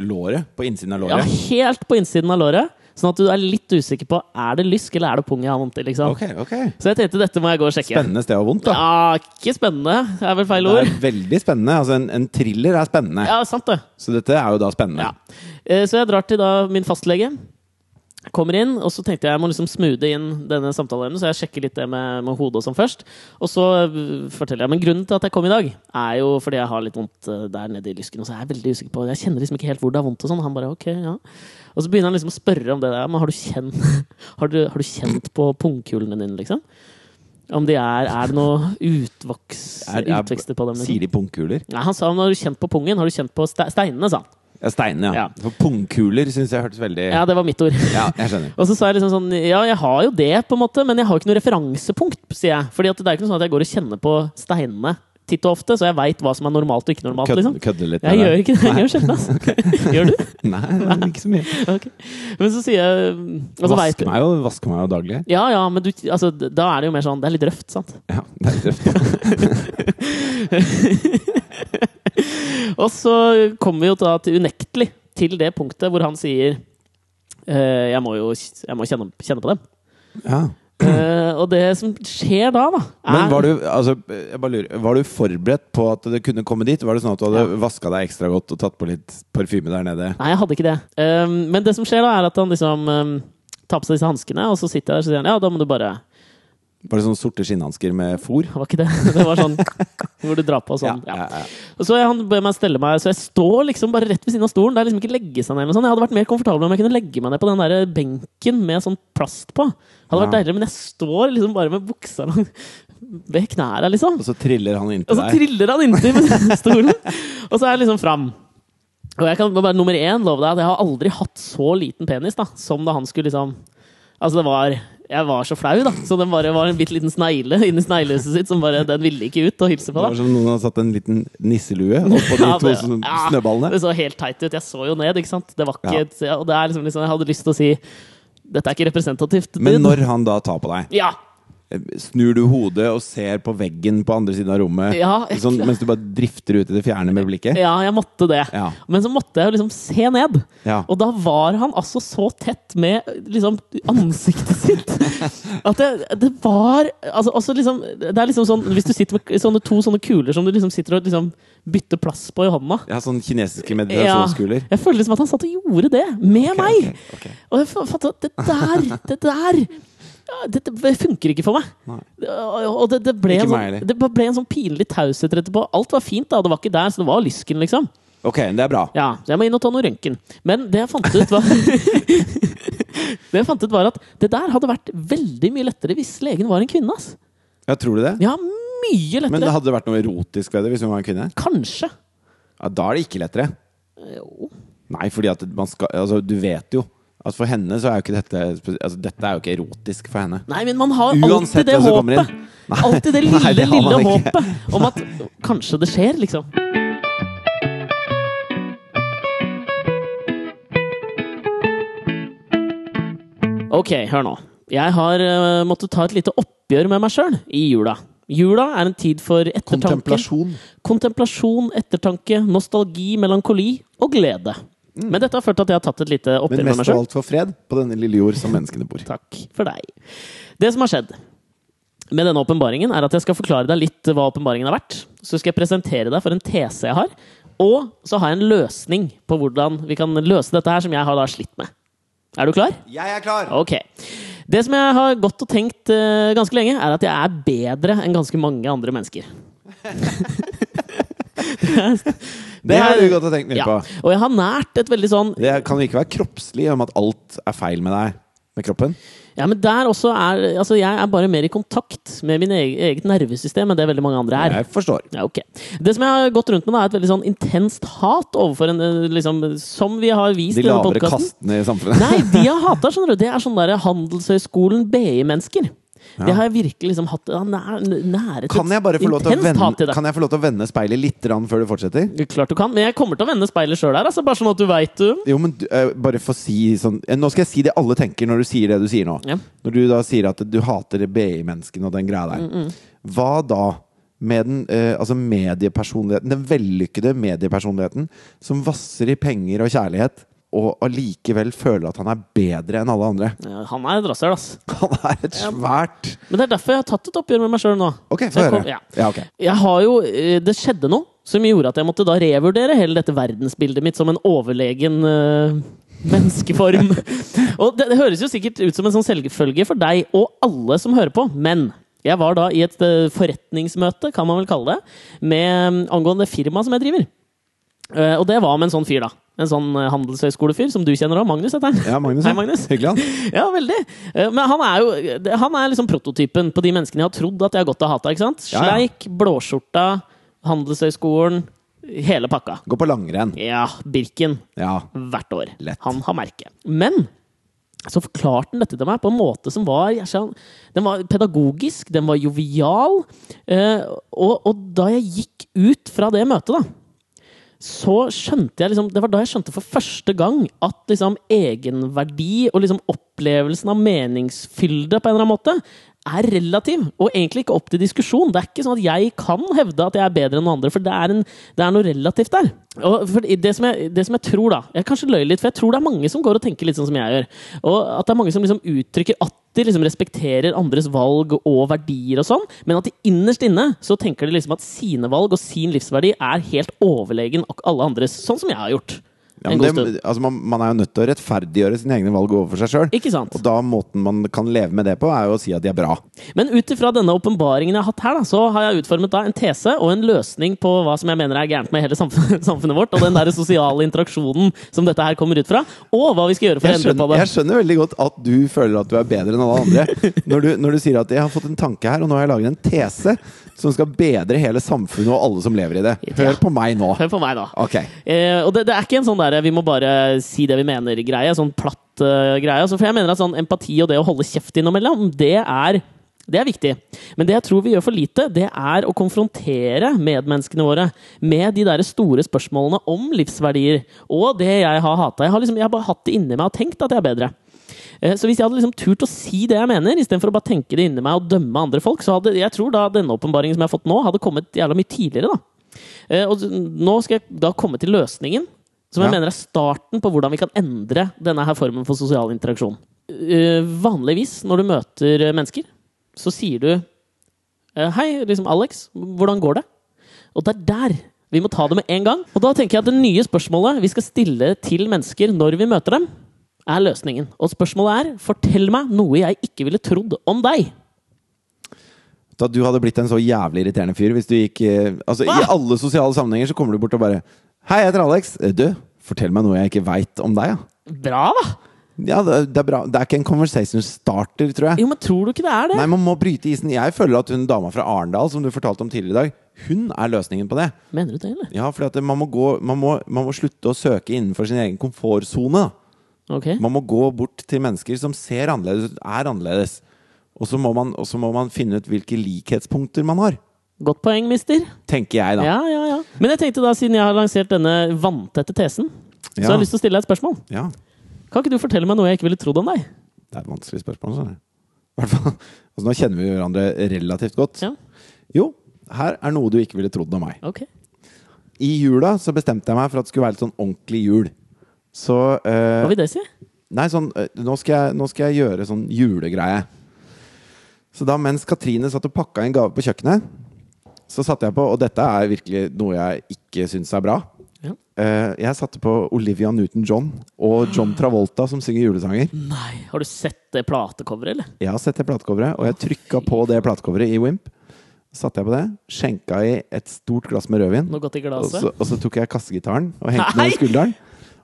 låret? På innsiden av Ja, låret? helt på innsiden av låret. Sånn at du er litt usikker på er det lysk eller er det pung jeg har vondt i. liksom. Ok, ok. Så jeg tenkte dette må jeg gå og sjekke. Spennende sted å ha vondt, da. Ja, ikke spennende. Det er vel feil Det ord. er veldig spennende. Altså, en, en thriller er spennende. Ja, sant det. Så dette er jo da spennende. Ja. Eh, Så jeg drar til da min fastlege. Kommer inn, og så tenkte jeg jeg må liksom smoothe inn denne samtaleemnet, så jeg sjekker litt det med, med hodet og sånn først. Og så øh, forteller jeg Men grunnen til at jeg kom i dag, er jo fordi jeg har litt vondt øh, der nede i lysken. Og så er jeg veldig usikker på Jeg kjenner liksom ikke helt hvor det er vondt og sånn. Han bare ok, ja. Og så begynner han liksom å spørre om det der. Men har du kjent, har du, har du kjent på pungkulene dine, liksom? Om de er Er det noe utvoks, Er- er- utvekster på dem? Sier Liksom? de pungkuler? Nei, han sa har du kjent på pungen? Har du kjent på ste steinene, sa han. Ja, steinene, ja. Ja. For pungkuler syns jeg hørtes veldig ja. Ja, det var mitt ord. jeg skjønner. Og så sa jeg liksom sånn Ja, jeg har jo det, på en måte, men jeg har jo ikke noe referansepunkt, sier jeg. Fordi at det er jo ikke noe sånn at jeg går og kjenner på steinene titt og ofte, så jeg veit hva som er normalt og ikke normalt, Kødde, liksom. kødde litt Jeg med gjør det. ikke det. Jeg gjør sjelden, altså. Gjør du? Nei, ikke så mye. Ok. Men så sier jeg og så vet- Vasker meg jo, vasker meg jo daglig. Ja, ja, men du, altså, da er det jo mer sånn Det er litt røft, sant? Ja, det er tøft. Og så kommer vi jo da til unektelig til det punktet hvor han sier eh, Jeg må jo jeg må kjenne, kjenne på dem. Ja. Eh, og det som skjer da, da er, Men var du, altså, jeg bare lurer, var du forberedt på at det kunne komme dit? Var det sånn at du hadde vasket vaska deg ekstra godt og tatt på litt parfyme der nede? Nei, jeg hadde ikke det. Um, men det som skjer da, er at han liksom um, tar på seg disse hanskene, og så sitter jeg der og sier han, ja, da må du bare Var det sånne sorte skinnhansker med fôr? Det var ikke det. Det var sånn hvor du drar på og sånn. Ja. ja, Og så han ber meg stelle meg, så jeg står liksom bare rett ved siden av stolen. Det er liksom ikke legge seg ned eller noe sånt. Jeg hadde vært mer komfortabel om jeg kunne legge meg ned på den der benken med sånn plast på. Det hadde vært Ja. deiligere, men jeg står liksom bare med buksa lang ved knærne, liksom. Og så triller han inntil Og så deg. triller han inntil stolen, og så er jeg liksom fram. Og jeg kan bare nummer én love deg at jeg har aldri hatt så liten penis da, som da han skulle liksom Altså, det var Jeg var så flau, da. Så den bare var en bitte liten snegle inni sneglehuset sitt som bare Den ville ikke ut og hilse på, Det da. var som om noen hadde satt en liten nisselue oppå de Ja, to det- sånn ja, snøballene. Det så helt teit ut. Jeg så jo ned, ikke sant. Det var Ja. ikke et- ja. Og det er liksom, liksom Jeg hadde lyst til å si Dette er ikke representativt. Men dude." når han da tar på deg, Ja! snur du hodet og ser på veggen på andre siden av rommet Ja, jeg- sånn, mens du bare drifter ut i det fjerne med blikket? Ja, jeg måtte det. Ja. Men så måtte jeg jo liksom se ned. Ja. Og da var han altså så tett med liksom, ansiktet sitt at det, det var altså, altså liksom, Det er liksom sånn Hvis du sitter med sånne to sånne kuler som du liksom sitter og liksom bytter plass på i hånda Jeg har sånne kinesiske meditasjonskuler. Jeg føler liksom at han satt og gjorde det med meg! ok, ok. Og jeg fa- fattet at det der, det der ja, Dette det funker ikke for meg. Nei. Og og det, det, ble Ikke en meg sånn, heller. det ble en sånn pinlig taushet etterpå. Alt var fint, da. Det var ikke der, så det var lysken, liksom. Ok, det er bra. Ja, så jeg må inn og ta noe røntgen. Men det jeg fant ut var Det jeg fant ut var at det der hadde vært veldig mye lettere hvis legen var en kvinne. ass. Ja, tror du det? Ja, mye lettere. Men det hadde det vært noe erotisk ved det hvis hun var en kvinne? Kanskje. Ja, da er det ikke lettere. Jo. Nei, fordi at man skal Altså, du vet jo at for henne så er jo ikke dette spe- altså, Dette er jo ikke erotisk for henne. Nei, men man har Uansett alltid det hvem som kommer håpet. inn. Alltid det lille, Nei, det har man lille ikke. håpet om at kanskje det skjer, liksom. Ok, hør nå. Jeg har eh, måttet ta et lite oppgjør med meg sjøl i jula. Jula er en tid for ettertanke. Kontemplasjon. Kontemplasjon, ettertanke, nostalgi, melankoli og glede. Men dette har ført til at jeg har tatt et lite Mm. Men oppgjør med mest meg sjøl. av alt for fred på denne lille jord som menneskene bor. Takk for deg. Det som har skjedd med denne åpenbaringen, er at jeg skal forklare deg litt hva åpenbaringen har vært. Så skal jeg presentere deg for en tese jeg har, og så har jeg en løsning på hvordan vi kan løse dette her, som jeg har da slitt med. Er du klar? Jeg er klar! Ok. Det som jeg har gått og tenkt eh, ganske lenge, er at jeg er bedre enn ganske mange andre mennesker. Det har du godt å tenke mye på. Og jeg har nært et veldig sånn Det kan jo ikke være kroppslig om at alt er feil med deg, med kroppen. Ja, men der også er Altså, jeg er bare mer i kontakt med min eg- eget nervesystem enn det veldig mange andre er. Jeg forstår. Ja, ok. Det som jeg har gått rundt med, da, er et veldig sånn intenst hat overfor en eh, liksom, Som vi har vist De i denne lavere podkasten. kastene i samfunnet. sånn Nei, de jeg hater, skjønner du, det er sånne der Handelshøyskolen BI-mennesker. Det har jeg virkelig liksom hatt ja, nær, nære Kan jeg bare få lov til å intenst vende, hat til det. kan jeg få lov til å vende speilet litt grann før du fortsetter? Klart du kan, men jeg kommer til å vende speilet sjøl her. Altså, bare sånn at du veit du. Jo, men du- eh, bare få si sånn eh, Nå skal jeg si det alle tenker når du sier det du sier nå. Ja. Når du da sier at du hater BI-menneskene og den greia der. Mm, Hva da med den eh, altså mediepersonligheten, den vellykkede mediepersonligheten som vasser i penger og kjærlighet, og allikevel føler at han er bedre enn alle andre? Ja, Han er et rasshøl, ass. Han er et svært Men det er derfor jeg har tatt et oppgjør med meg sjøl nå. Ok, Så få jeg høre. kom- ja. Ja, ok. Jeg har jo, eh, Det skjedde noe som gjorde at jeg måtte da revurdere hele dette verdensbildet mitt som en overlegen eh, menneskeform. og det, det høres jo sikkert ut som en sånn selvfølge for deg og alle som hører på, men jeg var da i et eh, forretningsmøte, kan man vel kalle det, med, mm, angående firmaet som jeg driver. Eh, og det var med en sånn fyr, da. En sånn eh, handelshøyskolefyr som du kjenner òg. Magnus heter han. Ja, Magnus. Hei, Magnus. Hyggelig, han. Ja, veldig. Eh, Men han er jo det- han er liksom prototypen på de menneskene jeg har trodd at jeg har godt av hata. ikke sant? Ja, ja. Sleik, blåskjorta, Handelshøyskolen, hele pakka. Gå på langrenn. Ja, Birken Ja. hvert år. Lett. Han har merke. Men så forklarte han dette til meg på en måte som var jeg sa- Den var pedagogisk, den var jovial. eh, Og, og da jeg gikk ut fra det møtet, da så skjønte jeg liksom, Det var da jeg skjønte for første gang at liksom egenverdi og liksom opplevelsen av meningsfylde på en eller annen måte er relativ, og egentlig ikke opp til diskusjon. Det er ikke sånn at jeg kan hevde at jeg er bedre enn noen andre, for det er, en, det er noe relativt der. Og for det, som jeg, det som jeg tror, da Jeg kanskje løy litt, for jeg tror det er mange som går og tenker litt sånn som jeg gjør. Og at det er mange som liksom uttrykker at de liksom respekterer andres valg og verdier og sånn, men at de innerst inne så tenker de liksom at sine valg og sin livsverdi er helt overlegen ak- alle andres, sånn som jeg har gjort. Ja, en men god det, stund. altså man, man er jo nødt til å rettferdiggjøre sine egne valg overfor seg sjøl. Ikke sant? Og da måten man kan leve med det på, er jo å si at de er bra. Men ut ifra denne åpenbaringen jeg har hatt her, da, så har jeg utformet da en tese og en løsning på hva som jeg mener er gærent med hele samfunnet, samfunnet vårt, og den der sosiale interaksjonen som dette her kommer ut fra, og hva vi skal gjøre for Jeg å endre på skjønner, det. jeg skjønner veldig godt at du føler at du er bedre enn alle andre. Når du, når du sier at 'jeg har fått en tanke her, og nå har jeg laget en tese' som skal bedre hele samfunnet og alle som lever i det. Ja. Hør på meg nå. Hør på meg, da. Ok. Eh, og det, det er ikke en sånn der, vi må bare si det vi mener-greie. Sånn platt eh, greie. Altså, for jeg mener at sånn empati og det å holde kjeft innimellom, det er det er viktig. Men det jeg tror vi gjør for lite, det er å konfrontere medmenneskene våre med de der store spørsmålene om livsverdier og det jeg har hata. Jeg har liksom, jeg har bare hatt det inni meg og tenkt at jeg er bedre. Eh, Så hvis jeg hadde liksom turt å si det jeg mener, istedenfor å bare tenke det inni meg og dømme andre folk, så hadde jeg tror da denne åpenbaringen som jeg har fått nå, hadde kommet jævla mye tidligere. da. Eh, Og nå skal jeg da komme til løsningen, som jeg Ja. mener er starten på hvordan vi kan endre denne her formen for sosial interaksjon. Eh, Vanligvis når du møter eh, mennesker, så sier du eh, Hei, liksom Alex, hvordan går det? Og det er der vi må ta det med en gang. Og da tenker jeg at det nye spørsmålet vi skal stille til mennesker når vi møter dem, er løsningen. Og spørsmålet er fortell meg noe jeg ikke ville trodd om deg. Da du hadde blitt en så jævlig irriterende fyr hvis du gikk eh, Altså, i Hva? alle sosiale sammenhenger så kommer du bort og bare 'Hei, jeg heter Alex. Eh, Du, fortell meg noe jeg ikke veit om deg', ja. Bra, da! Ja, det, det er bra. Det er ikke en conversation starter, tror jeg. Jo, men tror du ikke det er det? Nei, man må bryte isen. Jeg føler at hun dama fra Arendal som du fortalte om tidligere i dag, hun er løsningen på det. Mener du det, eller? Ja, fordi at det- man må, gå, man må, man må slutte å søke innenfor sin egen komfortsone. da. Ok. Man må gå bort til mennesker som ser annerledes ut, er annerledes. Og så må, man- og så må man finne ut hvilke likhetspunkter man har. Godt poeng, mister. Tenker jeg, da. Ja, ja, ja. Men jeg tenkte da, siden jeg har lansert denne vanntette tesen, så Ja. har jeg lyst til å stille deg et spørsmål. Ja. Kan ikke du fortelle meg noe jeg ikke ville trodd om deg? Det er et vanskelig spørsmål. skjønner jeg. I hvert fall. Altså, nå kjenner vi hverandre relativt godt. Ja, Jo, her er noe du ikke ville trodd om meg. ok. I jula så bestemte jeg meg for at det skulle være litt sånn ordentlig jul. Så eh, Hva vil det si? Nei, sånn eh, nå skal, jeg, nå skal jeg gjøre sånn julegreie. Så da mens Katrine satt og pakka en gave på kjøkkenet, så satte jeg på Og dette er virkelig noe jeg ikke syns er bra. Ja. Eh, jeg satte på Olivia Newton-John og John Travolta som synger julesanger. Nei, har du sett det platecoveret, eller? Jeg har sett det platecoveret, og jeg trykka på det platecoveret i Wimp. Så satte jeg på det, skjenka i et stort glass med rødvin. Noe godt i Og glaset? så, og så tok jeg kassegitaren og hengte den Nei! over skulderen.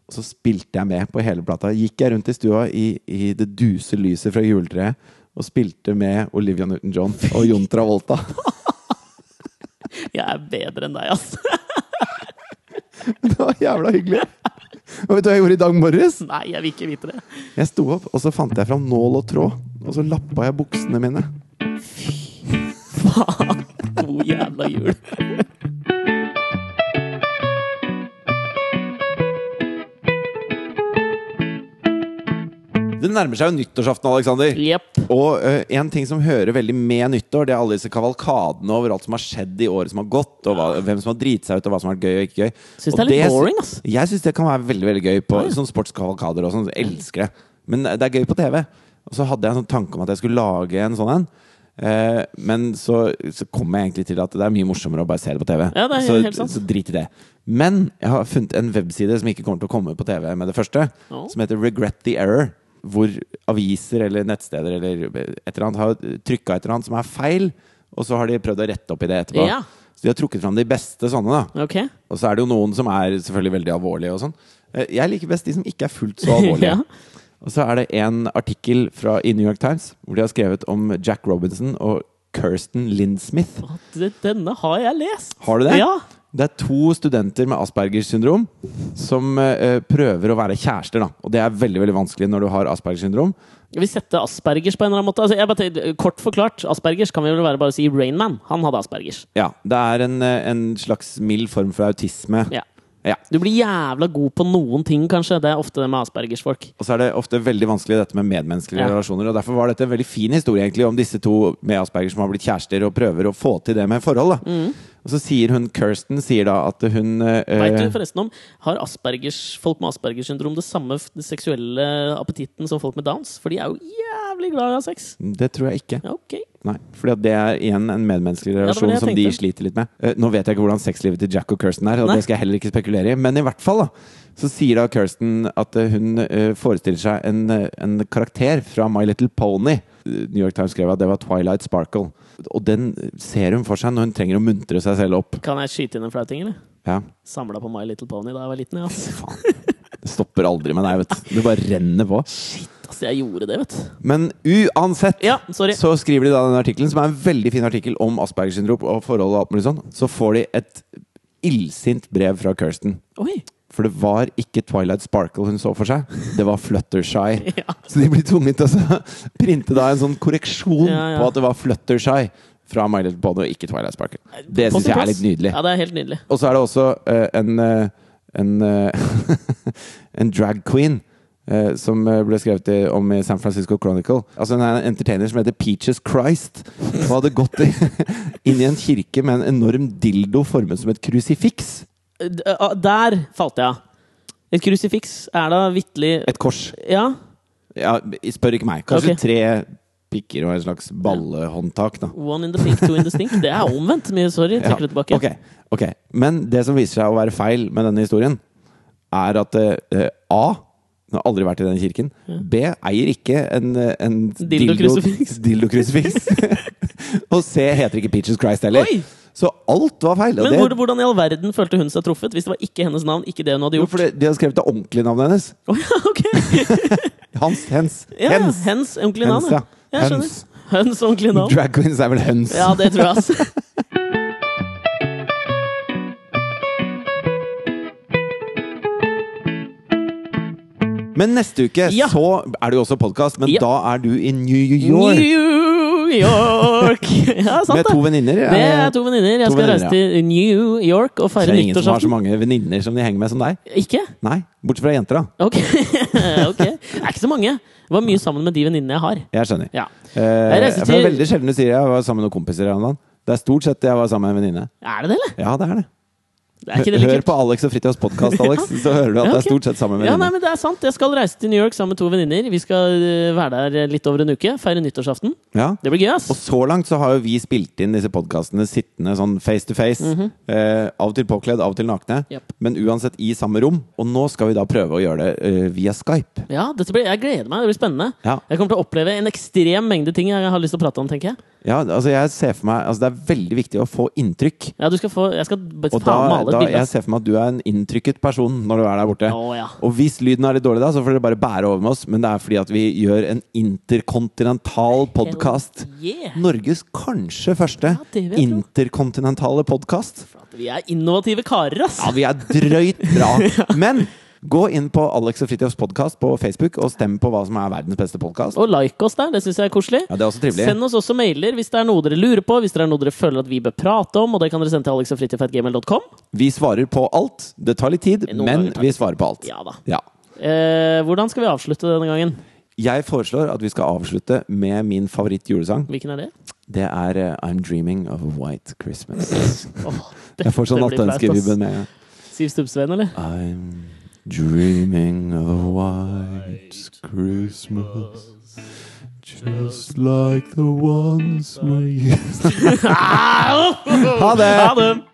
Og så spilte jeg med på hele plata. Gikk jeg rundt i stua i, i det duse lyset fra juletreet og spilte med Olivia Newton-John og Jon Travolta. Jeg er bedre enn deg, altså. Det var jævla hyggelig. Og vet du hva jeg gjorde i dag morges? Nei, jeg vil ikke vite det. Jeg sto opp, og så fant jeg fram nål og tråd. Og så lappa jeg buksene mine. faen! God jævla jul. Det nærmer seg jo nyttårsaften, Alexander. Jepp. Og eh, en ting som hører veldig med nyttår, det er alle disse kavalkadene over alt som har skjedd i året som har gått, og hva, hvem som har driti seg ut, og hva som har vært gøy og ikke gøy. Syns Og det er litt boring, ass. Jeg syns det kan være veldig veldig gøy på sånn sportskavalkader og sånn. Jeg Elsker det. Men det er gøy på TV. Og så hadde jeg en sånn tanke om at jeg skulle lage en sånn en. Eh, men så, så kom jeg egentlig til at det er mye morsommere å bare se det på TV. Ja, det er så, helt sant. så drit i det. Men jeg har funnet en webside som ikke kommer til å komme på TV med det første, Ja. som heter Regret the Error. Hvor aviser eller nettsteder eller et eller annet har trykka et eller annet som er feil, og så har de prøvd å rette opp i det etterpå. Ja. Så de har trukket fram de beste sånne, da. Ok. Og så er det jo noen som er selvfølgelig veldig alvorlige og sånn. Eh, Jeg liker best de som ikke er fullt så alvorlige. Ja. Og så er det en artikkel fra, i New York Times hvor de har skrevet om Jack Robinson og Kirsten Lindsmith. Det- Denne har jeg lest! Har du det? Ja. Det er to studenter med Aspergers syndrom som eh, prøver å være kjærester. da. Og det er veldig veldig vanskelig når du har Aspergers syndrom. Jeg vil sette aspergers på en eller annen måte. Altså, jeg bare tenker, kort forklart, aspergers kan vi vel være bare å si Rainman. Han hadde aspergers. Ja, Det er en, eh, en slags mild form for autisme. Ja. Ja. Du blir jævla god på noen ting, kanskje. Det er ofte det med aspergers-folk. Og så er det ofte veldig vanskelig dette med medmenneskelige Ja. relasjoner. Og derfor var dette en veldig fin historie egentlig om disse to med Asperger som har blitt kjærester og prøver å få til det med forhold. Mm. da. Og så sier hun Kirsten sier da at hun eh, Vet du forresten om Har aspergers, folk med aspergers syndrom det samme f- seksuelle appetitten som folk med downs? For de er jo jævlig glad i å ha sex. Det tror jeg ikke. Ja, ok. Nei, fordi at det er igjen en medmenneskelig det var relasjon det jeg som de tenkte. sliter litt med. Eh, nå vet jeg ikke hvordan sexlivet til Jack og Kirsten er, og Nei. det skal jeg heller ikke spekulere i, men i hvert fall da, så sier da Kirsten at eh, hun eh, forestiller seg en, eh, en karakter fra My Little Pony. Eh, New York Times skrev at det var Twilight Sparkle. Og den ser hun for seg når hun trenger å muntre seg selv opp. Kan jeg skyte inn en flau ting, eller? Ja, Samla på My Little Pony da jeg var liten. Ja. ass. faen. Det stopper aldri med deg, vet du. Det bare renner på. Altså, jeg gjorde det, vet du. Men uansett Ja, sorry. Så skriver de da den artikkelen, som er en veldig fin artikkel om Aspergers syndrom og forhold og alt mulig sånn. Så får de et illsint brev fra Kirsten. Oi! For det var ikke Twilight Sparkle hun så for seg, det var Fluttershy. Ja. Så de blir tvunget til å så printe da en sånn korreksjon Ja, ja. på at det var Fluttershy fra My Little Pony og ikke Twilight Sparkle. Det På syns jeg sin er plass. litt nydelig. Ja, det er helt nydelig. Og så er det også eh, en, eh, en, eh, en drag queen eh, som eh, ble skrevet i- om i San Francisco Chronicle. Altså Hun er en entertainer som heter Peaches Christ. Og hadde gått i, inn i en kirke med en enorm dildo formet som et krusifiks. D- ah, Der falt jeg av. Et krusifiks er da vitterlig Et kors. Ja. Ja, spør ikke meg. Kanskje Ok. tre pikker og en slags ballehåndtak. da One in the pink, two in the stink. Det er omvendt mye. Sorry. Ja, Trekker det tilbake. ok, ok. Men det som viser seg å være feil med denne historien, er at eh, A hun har aldri vært i den kirken. B eier ikke en, eh, en Dildo- krusifiks. Dildo-krusifiks. og C heter ikke Peaches Christ heller. Oi! Så alt var feil. og Men det- hvor, hvordan i all verden følte hun seg truffet? Hvis det var ikke hennes navn, ikke det hun hadde Jo, gjort? for det- de har skrevet det ordentlige navnet hennes. Å ja, ok! Hans, hens, Ja, hens. hens. hens ordentlig navn. Hens, ja. ja. Jeg skjønner. Hens. Høns ordentlig navn. Drag queens er vel høns. Ja, det tror jeg, altså. Men neste uke Ja. så er det jo også podkast, men Ja. da er du i New York New York! Ja, med sant to det. venninner. Det er to venninner. Jeg To skal reise venninner, til New York og Det feire er ingen som har så nyttårsaften. mange venninner som de henger med som deg. Ikke? Nei, bortsett fra jenter, da. Ok. ok. Det er ikke så mange. Det var mye sammen med de venninnene jeg har. Jeg skjønner. Ja. Eh, Jeg reiser for det er til- veldig sjelden du sier jeg var sammen med noen kompiser. her om dagen. Det er stort sett jeg var sammen med en venninne. Er det det, eller? Ja, det er det. Det er ikke det litt Hør kult? på Alex og Fritjofs podkast, Alex, så hører du at Ja, det ok. er stort sett sammen med Ja, nei, venninne. men det er sant. Jeg skal reise til New York sammen med to venninner. Vi skal øh, være der litt over en uke. Feire nyttårsaften. Ja. Det blir gøy, ass. Og så langt så har jo vi spilt inn disse podkastene sittende sånn face to face. Mhm. eh, av og til påkledd, av og til nakne. Japp. Men uansett i samme rom. Og nå skal vi da prøve å gjøre det eh, via Skype. Ja, dette blir, jeg gleder meg. Det blir spennende. Ja. Jeg kommer til å oppleve en ekstrem mengde ting jeg har lyst til å prate om, tenker jeg. ja, altså jeg ser for meg Altså Det er veldig viktig å få inntrykk. Ja, du skal få, jeg skal Og faen da, male et da bilde. jeg ass. ser for meg at du er en inntrykket person når du er der borte. Å, ja. Og hvis lyden er litt dårlig da, så får dere bare bære over med oss. Men det er fordi at vi gjør en interkontinental podkast. Yeah. Norges kanskje første Ja, det vil jeg tro. interkontinentale podkast. Vi er innovative karer, ass! Ja, vi er drøyt bra. Men Gå inn på Alex og Fritjofs podkast på Facebook og stem på hva som er verdens beste podkast. Og like oss der, det syns jeg er koselig. Ja, det er også trivelig. Send oss også mailer hvis det er noe dere lurer på, hvis det er noe dere føler at vi bør prate om, og det kan dere sende til alexogfritjofetgmail.com. Vi svarer på alt. Det tar litt tid, Noen men ganger tar vi det svarer på alt. Ja da. Ja. Eh, hvordan skal vi avslutte denne gangen? Jeg foreslår at vi skal avslutte med min favoritt-julesang. Hvilken er det? Det er eh, I'm Dreaming of a White Christmas. Åh, Jeg får sånn dette blir flaut, ass. nattønskevibben med en gang. Siv Stubbsveen, eller? I'm dreaming of a white Christmas, just like the ones we used Ha Ha det! det!